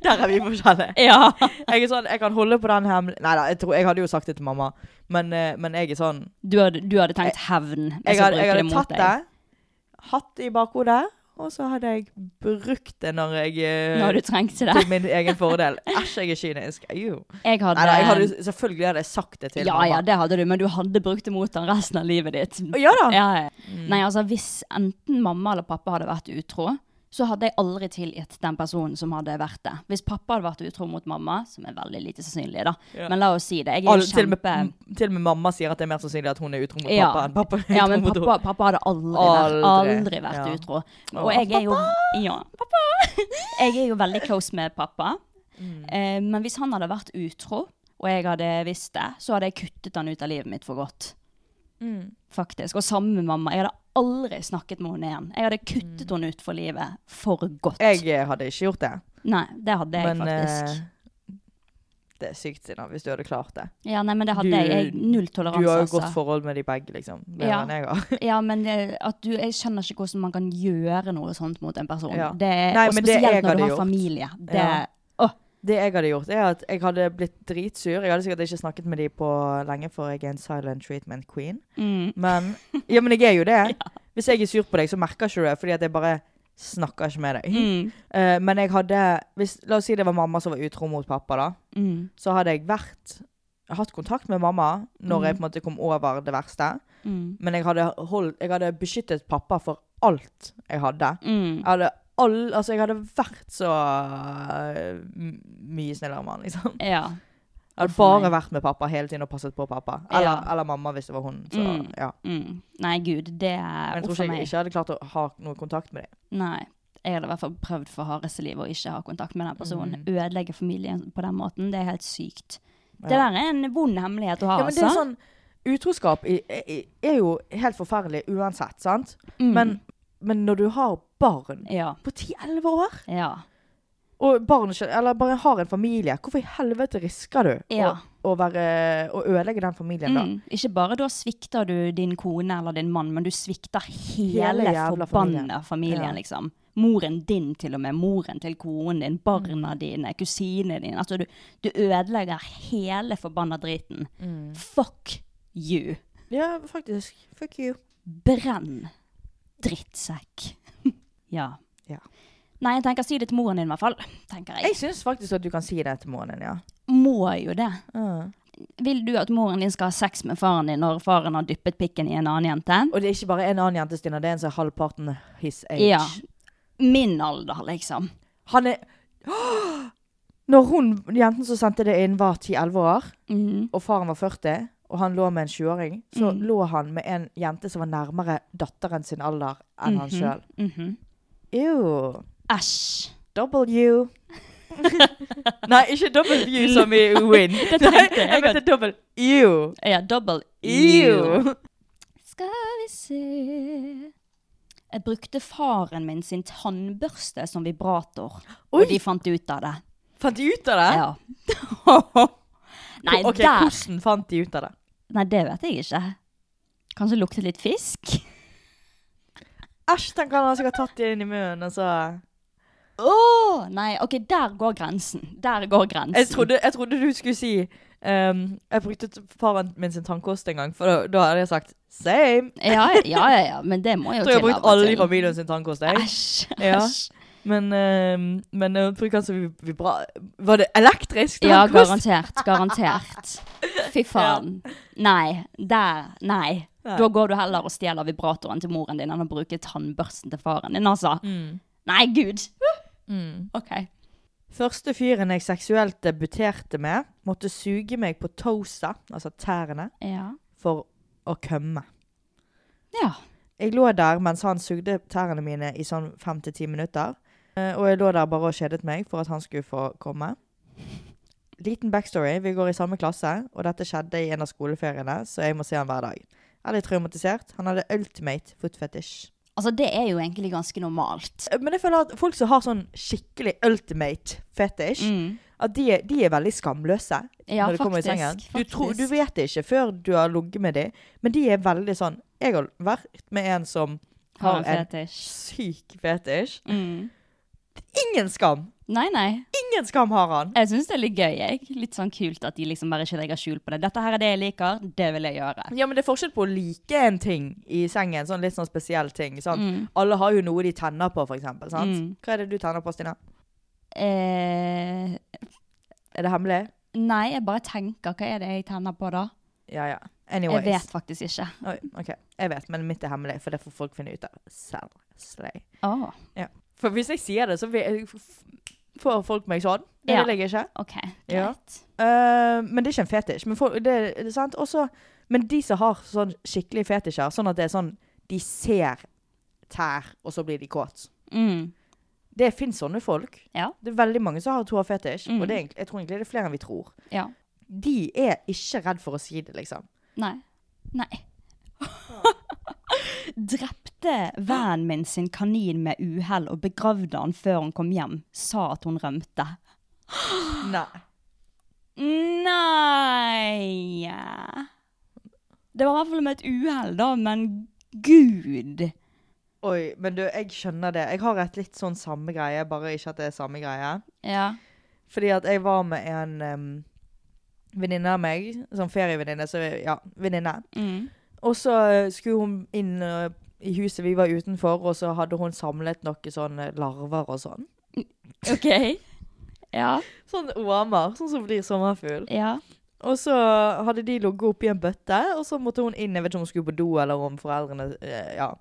Der er vi forskjellige.
ja.
jeg er sånn, jeg kan holde på den hemmelig... Nei, da, jeg, tror, jeg hadde jo sagt det til mamma, men, eh, men jeg er sånn...
Du hadde, du hadde tenkt hevn. men
Eh, Jeg
så
hadde, jeg
bruker
hadde
mot
tatt
deg.
det, hatt det i bakhodet, og så hadde jeg brukt det når jeg... eh,
Når du trengte det.
Til min egen fordel. Æsj, jeg er kynisk. Ew.
Jeg hadde,
Nei, da, jeg hadde, selvfølgelig hadde jeg sagt det til
ja,
mamma.
ja, det hadde du, men du hadde brukt det mot han resten av livet ditt.
Å, Ja Mm. da!
Ja, ja. Nei, altså, hvis enten mamma eller pappa hadde vært utro, så hadde jeg aldri tilgitt den personen som hadde vært det. Hvis pappa hadde vært utro mot mamma, som er veldig lite sannsynlig, da.
Ja.
Men la oss si det. Jeg er
Alle,
jo
til, og med,
kjempe...
til og med mamma sier at det er mer sannsynlig at hun er utro mot
Ja.
pappa enn pappa er
Ja,
utro
men
mot
pappa,
henne.
pappa hadde aldri, vært, aldri
Aldri.
vært
Ja.
utro.
Å,
Og jeg er jo Ja, pappa! Jeg er jo veldig close med pappa.
Mm.
Eh, men hvis han hadde vært utro, og jeg hadde visst det, så hadde jeg kuttet han ut av livet mitt for godt.
Mm.
Faktisk. Og sammen med mamma. Jeg hadde aldri snakket med henne igjen. Jeg hadde kuttet henne ut for livet for godt.
Mm. Jeg eh, hadde ikke gjort det.
Nei, det hadde jeg
Men
faktisk.
eh, det er sykt, Sina, hvis du hadde klart det.
ja, nei, men det
du-
hadde jeg. jeg. Null toleranse,
Du har jo
altså.
godt forhold med de begge, liksom. Det
Ja.
ja. jeg har.
Ja, men eh, at du, jeg skjønner ikke hvordan man kan gjøre noe sånt mot en person.
Ja.
Det, er-
Nei,
og
men det jeg
spesielt når du
hadde
har
gjort.
familie. Det,
Ja. Det jeg hadde gjort, er at jeg hadde blitt dritsur. Jeg hadde sikkert ikke snakket med de på lenge, for jeg er en silent treatment queen.
mm,
Men Ja, men jeg er jo det. Hvis jeg er sur på deg, så merker ikke du det, fordi at jeg bare snakker ikke med deg.
mm,
Eh, men jeg hadde hvis, La oss si det var mamma som var utro mot pappa, da.
mm,
Så hadde jeg vært hatt kontakt med mamma når jeg på en måte kom over det verste.
mm,
Men jeg hadde, hold, jeg hadde beskyttet pappa for alt jeg hadde.
mm.
Jeg hadde, all, altså jeg hadde vært så øh, m- mye snillere med han, liksom.
Ja.
Jeg hadde
for
bare vært med pappa hele tiden og passet på pappa. Eller,
Ja.
eller mamma, hvis det var hun. Så,
Mm.
ja.
Mm. Nei, gud, det
Men
er
jeg tror
uff a
ikke jeg
meg.
ikke hadde klart å ha noe kontakt med dem.
Nei. Jeg hadde i hvert fall prøvd for hardeste liv å ikke ha kontakt med den
Mm.
personen. Ødelegge familien på den måten, det er helt sykt. Det
Ja.
der er en vond hemmelighet å ha,
Ja, men det
altså.
er sånn, utroskap i- i- er jo helt forferdelig uansett, sant?
Mm.
sånn, Men, men når du har barn
Ja.
på 10-11 år,
Ja.
og barn, ikke- eller bare har en familie, hvorfor i helvete risker du
Ja.
å, å, være, å ødelegge den familien da?
Mm. Ikke bare da svikter du din kone eller din mann, men du svikter hele,
Hele jævla
forbanna familien,
familien. Ja.
liksom. Moren din til og med, moren til konen din, barna
Mm.
dine, kusinene dine. Altså, du, du ødelegger hele forbanna driten.
Mm.
Fuck you.
Ja, faktisk. Fuck you.
Brenn. Drittsekk. ja.
Ja.
Nei, jeg tenker si det til moren din i hvert fall, tenker
Jeg
jeg.
syns faktisk at du kan si det til moren din, ja.
Må jo det.
Mm.
Vil du at moren din skal ha sex med faren din når faren har dyppet pikken i en annen jente?
Og det er ikke bare en annen jente, Stina. Det er en som er halvparten his age.
Ja. Min alder, liksom.
Han er Mm. Når hun, jenten som sendte det inn, var 10-11 år, og faren var 40, og han lå med en 20-åring, så
Mm.
lå han med en jente som var nærmere datteren sin alder enn han sjøl.
Mhm.
Ew.
Æsj.
W. Nei, ikke W som i win.
Det tenkte jeg
jeg mente dobbel ew.
Ja, double
Ew.
Skal vi se Jeg brukte faren min sin tannbørste som vibrator,
Oi.
og de fant ut av det.
Fant de ut av det?
Ja. Nei,
ok,
der
hvordan fant de ut av det?
Nei, det vet jeg ikke. Kanskje lukte litt fisk?
Æsj, tenk han har sikkert tatt det inn i munnen, altså. og så
Åh, nei, ok, der går grensen. Der går grensen.
Jeg trodde, jeg trodde du skulle si ehm, Jeg brukte t- faren min sin tannkost en gang, for da, da hadde jeg sagt same.
Ja, ja, ja, ja, men det må jo til
Jeg tror jeg har brukt
av og
alle i
til.
familien sin tannkost. Jeg.
Æsj,
Ja.
æsj.
Men, ehm, men jeg bruker altså vi- vibra... Var det elektrisk
Ja,
tannkost?
garantert, garantert. Fy faen. Nei, der, nei.
Nei.
Da går du heller og stjeler vibratoren til moren din enn å bruke tannbørsten til faren din, altså.
Mm.
Nei, gud.
Mm.
Ok.
Første fyren jeg seksuelt debuterte med, måtte suge meg på toesa, altså tærne,
Ja.
for å kømme.
Ja.
Jeg lå der mens han sugde tærne mine i sånn fem til ti minutter. Eh, Og jeg lå der bare og kjedet meg for at han skulle få komme. Liten backstory. Vi går i samme klasse, og dette skjedde i en av skoleferiene, så jeg må se han hver dag. Jeg er litt traumatisert. Han hadde ultimate foot fetish.
Altså, det er jo egentlig ganske normalt.
Eh, Men jeg føler at folk som har sånn skikkelig ultimate fetish,
Mm.
at de er, de er veldig skamløse
Ja,
når de kommer i
faktisk,
sengen. Du, tror, du
faktisk.
vet det ikke før du har ligget med dem, men de er veldig sånn Jeg har vært med en som
Har
har
en
en
fetisj.
syk fetisj.
Mm.
Ingen skam!
Nei, nei.
Ingen skam har han!
Jeg syns det er litt gøy. jeg. Litt sånn kult at de liksom bare ikke legger skjul på det. 'Dette her er det jeg liker, det vil jeg gjøre'.
Ja, men Det er forskjell på å like en ting i sengen, sånn litt sånn spesiell ting. Sant? Alle har jo noe de tenner på, for eksempel. Sant?
Mm.
Hva er det du tenner på, Stina?
Eh,
Er det hemmelig?
nei, jeg bare tenker. Hva er det jeg tenner på da?
Ja, ja.
Jeg
Anyways.
vet faktisk ikke.
Oi, ok. Jeg vet, men mitt er hemmelig, for det får folk finne ut av selv. Slay.
Åh,
For hvis jeg sier det, så vil- f- får folk meg sånn. Det
Ja.
vil jeg ikke.
OK,
Ja.
greit.
Eh, men det er ikke en fetisj. Men, folk, det, det er sant? Også, men de som har sånn skikkelig fetisjer, sånn at det er sånn De ser tær, og så blir de kåt.
Mm.
Det fins sånne folk.
Ja.
Det er veldig mange som har toa-fetisj.
Mm.
Og det er, egentlig- jeg tror egentlig det er flere enn vi tror.
Ja.
De er ikke redd for å si det, liksom.
Nei. Nei. Drepte vennen min sin kanin med uhell og begravde han før hun kom hjem. Sa at hun rømte.
Nei.
Nei Det var i hvert fall med et uhell, da, men gud!
Oi, men du, jeg skjønner det. Jeg har et litt sånn samme greie, bare ikke at det er samme greie.
Ja.
Fordi at jeg var med en em, venninne av meg, sånn ferievenninne, så ja, venninne.
Mm.
Og så eh, skulle hun inn eh, i huset vi var utenfor, og så hadde hun samlet noen sånne larver og sånn.
OK. Ja.
Sånn ormer, sånn som blir sommerfugl.
Ja.
Og så hadde de ligget oppi en bøtte, og så måtte hun inn. Jeg vet ikke om hun skulle på do, eller om foreldrene eh, Ja.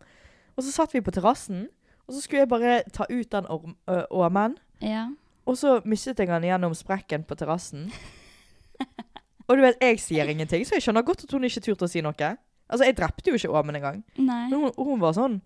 Og så satt vi på terrassen, og så skulle jeg bare ta ut den orm- ø, ormen.
ja.
Og så mistet jeg den gjennom sprekken på terrassen. Og du vet, jeg sier ingenting, så jeg skjønner godt at hun ikke turte å si noe. Altså, jeg drepte jo ikke ormen engang.
Nei.
Men hun, hun var sånn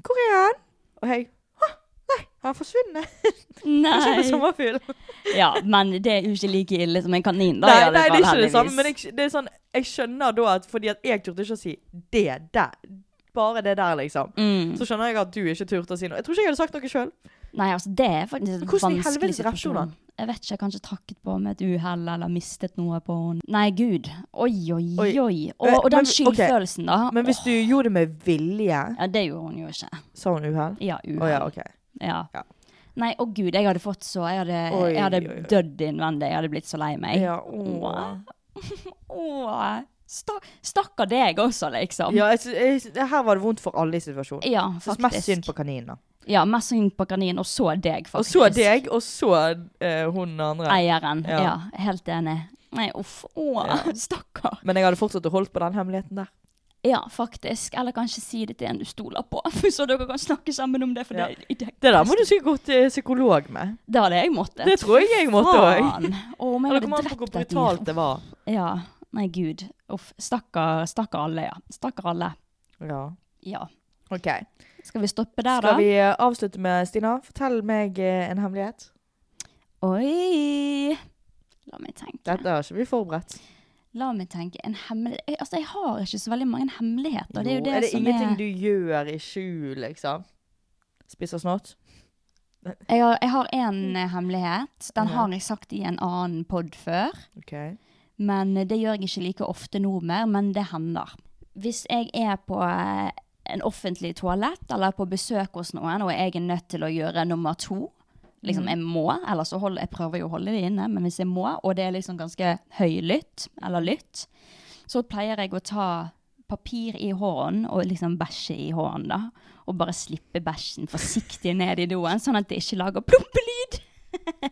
'Hvor er han?' Og jeg «Hå, Nei, han har forsvunnet. Ikke med
Nei.
sommerfugl.
Ja, men det er jo ikke like ille som en kanin, da. i
Nei,
alle
nei, det
fall,
er ikke det samme,
heldigvis.
men jeg, det er sånn, jeg skjønner da at fordi at jeg turte ikke å si det der, bare det der, liksom.
Mm.
Så skjønner jeg at du ikke turte å si noe. Jeg tror ikke jeg hadde sagt noe sjøl.
Nei, altså det er faktisk en
Hvordan i
vanskelig
helvete drepte hun
situasjon.
han?
Jeg vet ikke, jeg kanskje trakket på med et uhell eller mistet noe på henne. Nei, gud. Oi, oi, oi.
Oi.
Og, og
Men-
den
ok.
skyldfølelsen, da.
Men hvis du gjorde det med vilje,
Ja, det gjorde hun jo ikke.
sa hun uhell?
Ja,
Å
uhell.
ja, OK.
Ja.
Ja.
Nei, å gud, jeg hadde fått så Jeg hadde,
Oi,
jeg hadde
oi, oi.
dødd innvendig. Jeg hadde blitt så lei meg.
Ja, åh.
Åh, sta stakkar deg også, liksom.
ja jeg, sy- jeg, sy- her var det vondt for alle i situasjonen.
Ja,
Jeg synes mest synd
faktisk.
på kaninen. da.
Ja, mest synd på kaninen, og så deg,
Og
faktisk.
så deg, og så eh, hun andre.
Eieren.
Ja.
Ja. helt enig. Nei, uff. Åh, stakkar.
Men jeg hadde fortsatt å holdt på den hemmeligheten der.
Ja, faktisk. Eller kanskje si det til en du stoler på, så dere kan snakke sammen om det. For
Ja.
det, i det,
Det der må du sikkert gå til psykolog med.
Det hadde jeg måttet.
Det tror jeg jeg måtte òg.
Faen. Å, om jeg
Eller
hadde
kommer an på hvor
drept et
brutalt
dyr.
det var.
Ja. Nei, gud. Uff. Stakkar stakkar alle, ja. Stakkar alle.
Ja.
Ja.
OK.
Skal vi stoppe der, da?
Skal vi eh, avslutte med Stina? Fortell meg eh, en hemmelighet.
Oi! La meg tenke.
Dette har ikke vi forberedt.
La meg tenke. En hemmel... Jeg- Altså, jeg har ikke så veldig mange hemmeligheter. Det er jo det,
er det
som
ingenting
er
du gjør i skjul, liksom? Spiser snott?
Jeg har, jeg har en eh, hemmelighet. Den
Ja.
har jeg sagt i en annen pod før.
OK.
Men eh, det gjør jeg ikke like ofte nå mer, men det hender. Hvis jeg er på eh, en offentlig toalett eller på besøk hos noen, og jeg er nødt til å gjøre nummer to,
Mm.
liksom jeg må, eller så hold, jeg prøver jo å holde det inne, men hvis jeg må, og det er liksom ganske høylytt, eller lytt, så pleier jeg å ta papir i hånden og liksom bæsje i hånden da, og bare slippe bæsjen forsiktig ned i doen, sånn at det ikke lager ploppelyd.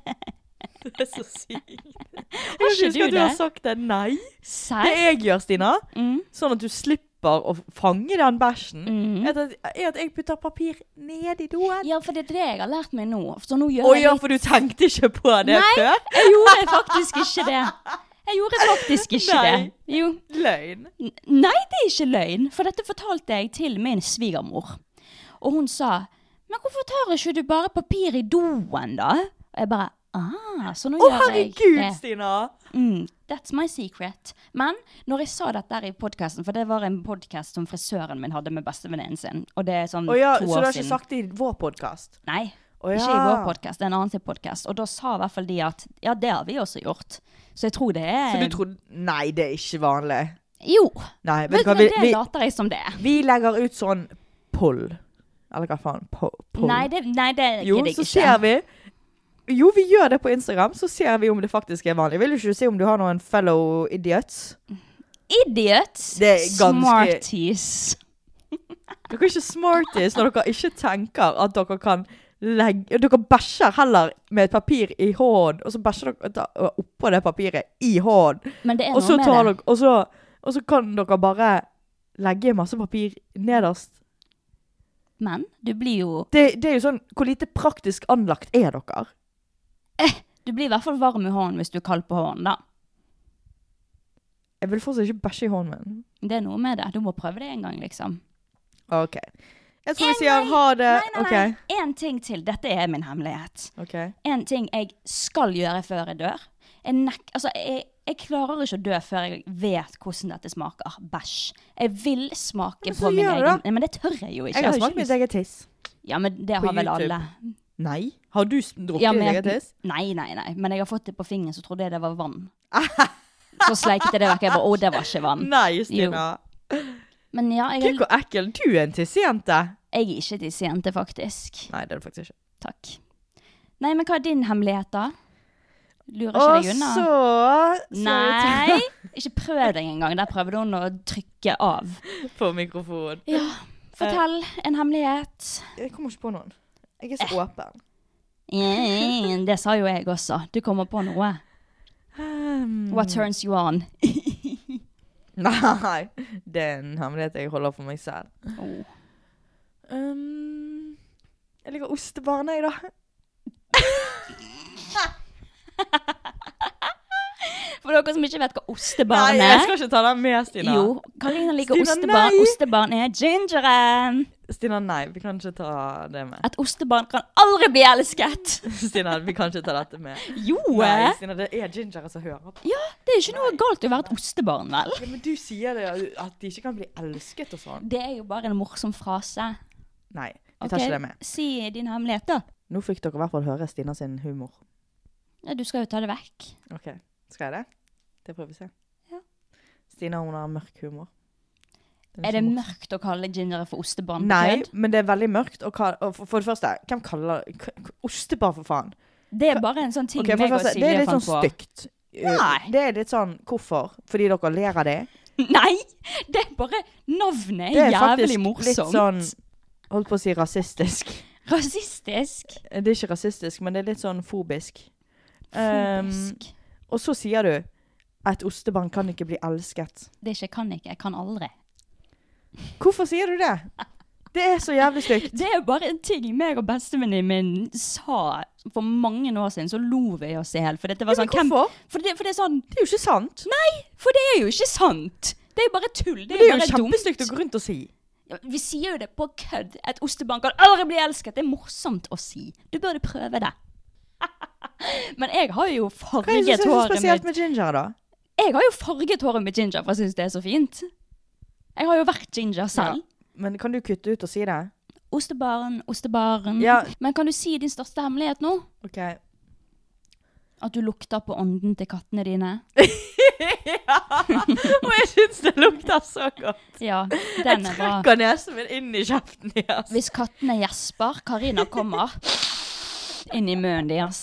Det er så sykt. Jeg
Har
kan
ikke
ikke huske
du
at du
det?
har sagt det. Nei. Det
Serr?
jeg gjør, Stina,
Mm.
sånn at du slipper å fange den bæsjen, er, at, er at jeg putter papir ned i doen.
Mm. Ja, for det er det jeg har lært meg nå. Så nå
Å
gjør jeg
ja, for du tenkte ikke på det
Nei,
før?
jeg gjorde faktisk ikke det. Jeg gjorde faktisk ikke
Nei.
det. Jo.
Løgn.
N- Nei, det er ikke løgn, for dette fortalte jeg til min svigermor. Og hun sa 'Men hvorfor tar ikke du bare papir i doen, da?' Og jeg bare 'Ah, så nå
Å,
gjør jeg
herregud,
det'.
Stina!
Mm, that's my secret. Men når jeg sa dette her i podkasten, for det var en podkast som frisøren min hadde med bestevenninnen sin, og det er sånn
Å ja,
to år
så
siden.
du har ikke sagt det i vår podkast?
Nei.
Å
Ikke i
ja.
vår podkast, det er en annen sin podkast. Og da sa i hvert fall de at ja, det har vi også gjort. Så jeg tror det er
Så du trodde Nei, det er ikke vanlig.
Jo.
Nei,
Men,
vet du hva,
men
vi,
det
vi,
later jeg som det er.
vi legger ut sånn poll. Eller hva faen? Po- Poll?
Nei, det, nei, det
Jo,
gidder jeg
så
ikke.
ser vi Jo, vi gjør det på Instagram, så ser vi om det faktisk er vanlig. Vil du ikke se om du har noen fellow idiots?
Idiots!
Det er ganske-
Smarties.
Dere er ikke smarties når dere ikke tenker at dere kan legge Dere bæsjer heller med et papir i hånd, og så bæsjer dere da- oppå det papiret i hånd.
Men det er
Og
noe
så,
med
tar
det.
dere, og, så, og så kan dere bare legge masse papir nederst.
Men du blir jo
Det, det er jo sånn Hvor lite praktisk anlagt er dere?
eh, Du blir i hvert fall varm i hånden hvis du er kald på hånden, da.
Jeg vil fortsatt ikke bæsje i hånden min.
Det er noe med det. Du må prøve det en gang, liksom.
OK. Jeg tror
En-
vi sier ha det.
Nei, nei, nei. En ting til. Dette er min hemmelighet.
OK. ok.
en ting jeg skal gjøre før jeg dør. Jeg, nek altså, jeg, jeg klarer ikke å dø før jeg vet hvordan dette smaker. Bæsj. Jeg vil smake
Men så
på min
gjør du
egen
det.
Nei, Men det tør jeg jo ikke.
Jeg har
jo
smakt
ikke
mitt
lyst.
eget tiss.
Ja, men det
på
har vel
YouTube.
alle.
Nei. Har du s- drukket
Ja,
ditt
men jeg-
eget tiss?
Nei, nei, nei. Men jeg har fått det på fingeren, så trodde jeg det var vann. Så sleiket jeg det vekk. Jeg bare, Å, det var ikke vann.
Nei, Stina.
Men ja, jeg,
Gud, hvor ekkel. Du er en tissejente.
jeg er ikke tissejente, faktisk.
Nei, det er du faktisk ikke.
Takk. Nei, men hva er din hemmelighet, da? Lurer ikke
Og
deg unna.
så ser vi
Nei! Ikke prøv deg engang. Der prøvde hun å trykke av. Eh.
til- på mikrofonen.
Ja, fortell en hemmelighet.
Jeg kommer ikke på noen. Jeg er
Eh.
så åpen.
Mm, Det sa jo jeg også. Du kommer på noe.
Ehm. Mm.
What turns you on?
Nei. Det er en hemmelighet jeg holder for meg selv. Um, jeg liker ostebarn, jeg, da.
For dere som ikke vet hva
Nei,
ostebarn
jeg
er
skal ikke ta den med, Stina.
Jo, Karina liker
Stina,
ostebarn.
nei!
Ostebarn er gingeren.
Stina, nei, vi kan ikke ta det med.
Et ostebarn kan aldri bli elsket.
Stina, vi kan ikke ta dette med.
Jo!
Nei,
eh.
Stina, det er gingere som hører på.
Ja, det er ikke noe galt i å være et ostebarn, vel?
Ja, men du sier det, at de ikke kan bli elsket og sånn.
Det er jo bare en morsom frase.
Nei, vi tar
Ok,
ikke det med.
Si din hemmelighet, da.
Nå fikk dere i hvert fall høre Stina sin humor.
Ja, du skal jo ta det vekk.
Ok, Skal jeg det? Det prøver vi å se.
Ja.
Stina hun har mørk humor. Den
Er det
ikke morsom.
mørkt å kalle gingere for ostebarn? på
Nei,
kødd?
men det er veldig mørkt. Og, hva, og for, for det første, hvem kaller k- k- Ostebar, for faen.
Det er bare en sånn ting
Ok, for det,
meg og
første,
Silje
det er litt sånn
fant på.
stygt. Eh,
Nei.
Det er litt sånn Hvorfor? Fordi dere ler av det?
Nei! Det er bare Navnet
Det
er,
er
jævlig
faktisk
morsomt.
litt sånn Holdt på å si rasistisk. Eh,
Rasistisk.
Det er ikke rasistisk, men det er litt sånn fobisk. Um,
Fobisk.
og så sier du at ostebarn kan ikke bli elsket.
det er ikke 'kan ikke', 'kan aldri'.
Hvorfor sier du det? Det er så jævlig stygt.
Det er bare en ting meg og bestevenninnen min sa for mange år siden, så lo vi oss i hjel. For dette var
Ja, men
sånn hvem-
hvorfor?
For det, for det er sånn
Det er jo ikke sant.
Nei! For det er jo ikke sant! Det er bare tull. Det er,
Men det er jo
bare
kjempestygt å
dumt.
gå rundt og si.
Ja, Vi sier jo det på kødd. Et ostebarn kan aldri bli elsket. Det er morsomt å si. Du burde prøve det. Men jeg har jo
Hva er det
farget
som er så
håret mitt
spesielt med ginger, da?
Jeg har jo farget håret med ginger, for jeg syns det er så fint. Jeg har jo vært ginger selv.
Men kan du kutte ut og si det?
Ostebarn, ostebarn.
Ja.
Men kan du si din største hemmelighet nå?
OK.
At du lukter på ånden til kattene dine?
Og jeg syns det lukter så godt.
Ja, den er bra.
Trekker nesen min inn i altså? kjeften deres.
Hvis kattene gjesper, Karina kommer inn i munnen deres.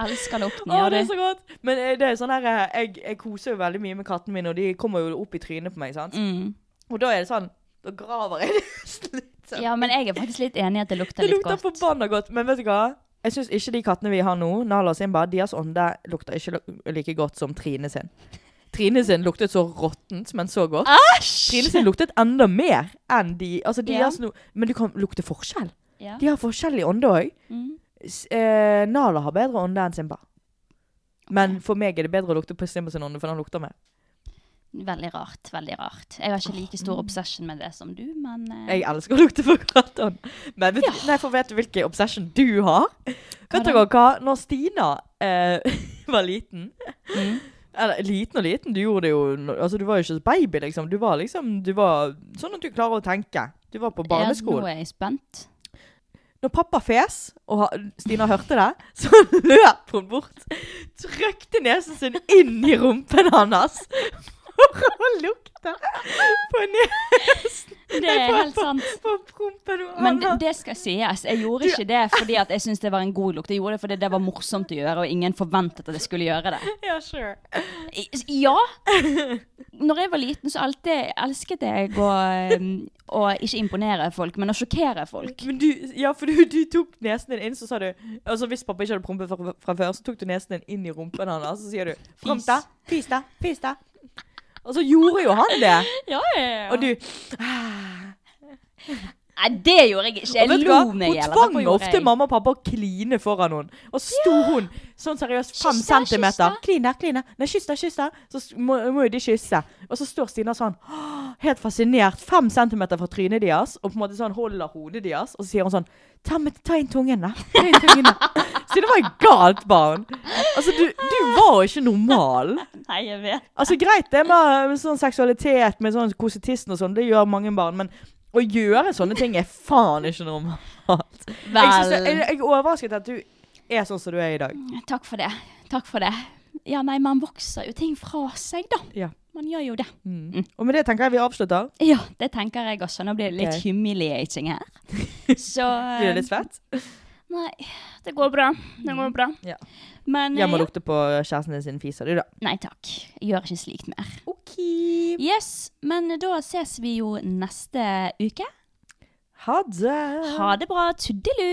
Elsker lukten,
Å,
gjør
det er
du?
så godt. Men eh, det er sånn her eh, jeg, jeg koser jo veldig mye med kattene mine, og de kommer jo opp i trynet på meg, sant.
Mm.
Og da er det sånn Da graver jeg nesten litt. sånn.
Ja, men jeg er faktisk litt enig i at det lukter
Det
litt
lukter
godt.
forbanna godt. Men vet du hva? Jeg syns ikke de kattene vi har nå, Nala og Simba, deres ånde lukter ikke lu- like godt som Trine sin. Trine sin luktet så råttent, men så godt. Trine sin luktet enda mer enn de Altså, de
Ja.
er sno- Men du kan lukte forskjell.
Ja.
De har forskjellig ånde òg.
Mm.
Eh, Nala har bedre ånde enn Simba. Men for meg er det bedre å lukte på Simba sin ånde, for den lukter mer.
Veldig rart. veldig rart. Jeg har ikke like stor obsession med det som du, men eh,
Jeg elsker å lukte på kattånd. Men vet, nei, for vet du hvilken obsession du har? vet dere hva? Når Stina eh, var liten
Mm.
Eller liten og liten, du gjorde det jo no- Altså, du var jo ikke baby, liksom. Du var liksom Du var sånn at du klarer å tenke. Du var på
Ja, nå
barneskolen.
er jeg spent.
Når pappa fes, og ha, Stina hørte det, så løp hun bort. Trykte nesen sin inn i rumpen hans for å lukte på nesen.
Det
Nei,
er
på-
helt sant.
På, på prompen og
Men det,
annet.
det skal sies. Jeg gjorde ikke det fordi at jeg syntes det var en god lukt. Jeg gjorde det fordi det var morsomt å gjøre, og ingen forventet at jeg skulle gjøre det.
Ja, sure.
I- Ja! Når jeg var liten, så alltid elsket jeg å, um, å ikke imponere folk, men å sjokkere folk.
Men du, ja, for du, du tok nesen din inn, så sa du Altså Hvis pappa ikke hadde prompe fra, fra før, så tok du nesen din inn i rumpen hans, og så sier du Fis. Fis da. Fis da. Og så gjorde jo han det.
Ja,
Og du
Nei, det gjorde jeg ikke. Jeg
vet du
lo
hva?
meg i hjel.
Hun tvang ofte mamma og pappa å kline foran henne. Og så sto hun sånn seriøst fem
Kyss da, kyss
centimeter.
da.
Kline, kline. Nei, kyss da, kyss da. Så s- må, må jo de kysse. Og så står Stina sånn «Åh», helt fascinert, fem centimeter fra trynet deres, og på en måte sånn holder hodet deres, og så sier hun sånn Ta, med, ta inn tungen, da. Ta inn tungen, da. Stina var et galt barn. Altså, du, du var jo ikke normal.
Nei, jeg vet.
Altså greit det med, med sånn seksualitet, med sånn kosetisten og sånn, det gjør mange barn, men å gjøre sånne ting er faen ikke normalt. Jeg, synes det, jeg,
Vel,
jeg er overrasket at du er sånn som du er i dag.
takk for det. Takk for det. Ja, nei, man vokser jo ting fra seg, da.
Ja.
Man gjør jo det.
Og med det tenker jeg vi avslutter.
Ja, det tenker jeg også. Nå blir det litt
Ok.
humiliating her. Så
Blir det
Eh,
litt svett?
Nei, det går bra. Det går bra.
Ja.
Men
Jeg må
eh,
lukte på kjæresten din sin fiser, du da.
Nei takk. Jeg gjør ikke slikt mer.
Ok.
Yes, men da ses vi jo neste uke.
Ha det.
Ha det bra. Tuddelu!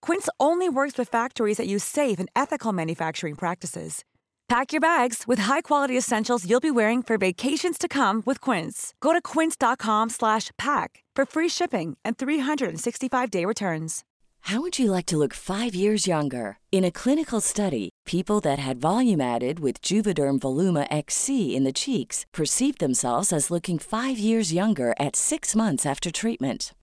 Quince only works with factories that use safe and ethical manufacturing practices. Pack your bags with high-quality essentials you'll be wearing for vacations to come with Quince. Go to quince.com slash pack for free shipping and 365-day returns.
How would you like to look five years younger? In a clinical study,
People that had volume added with Juvederm Voluma XC in the cheeks perceived themselves as looking 5 years younger at 6 months after treatment.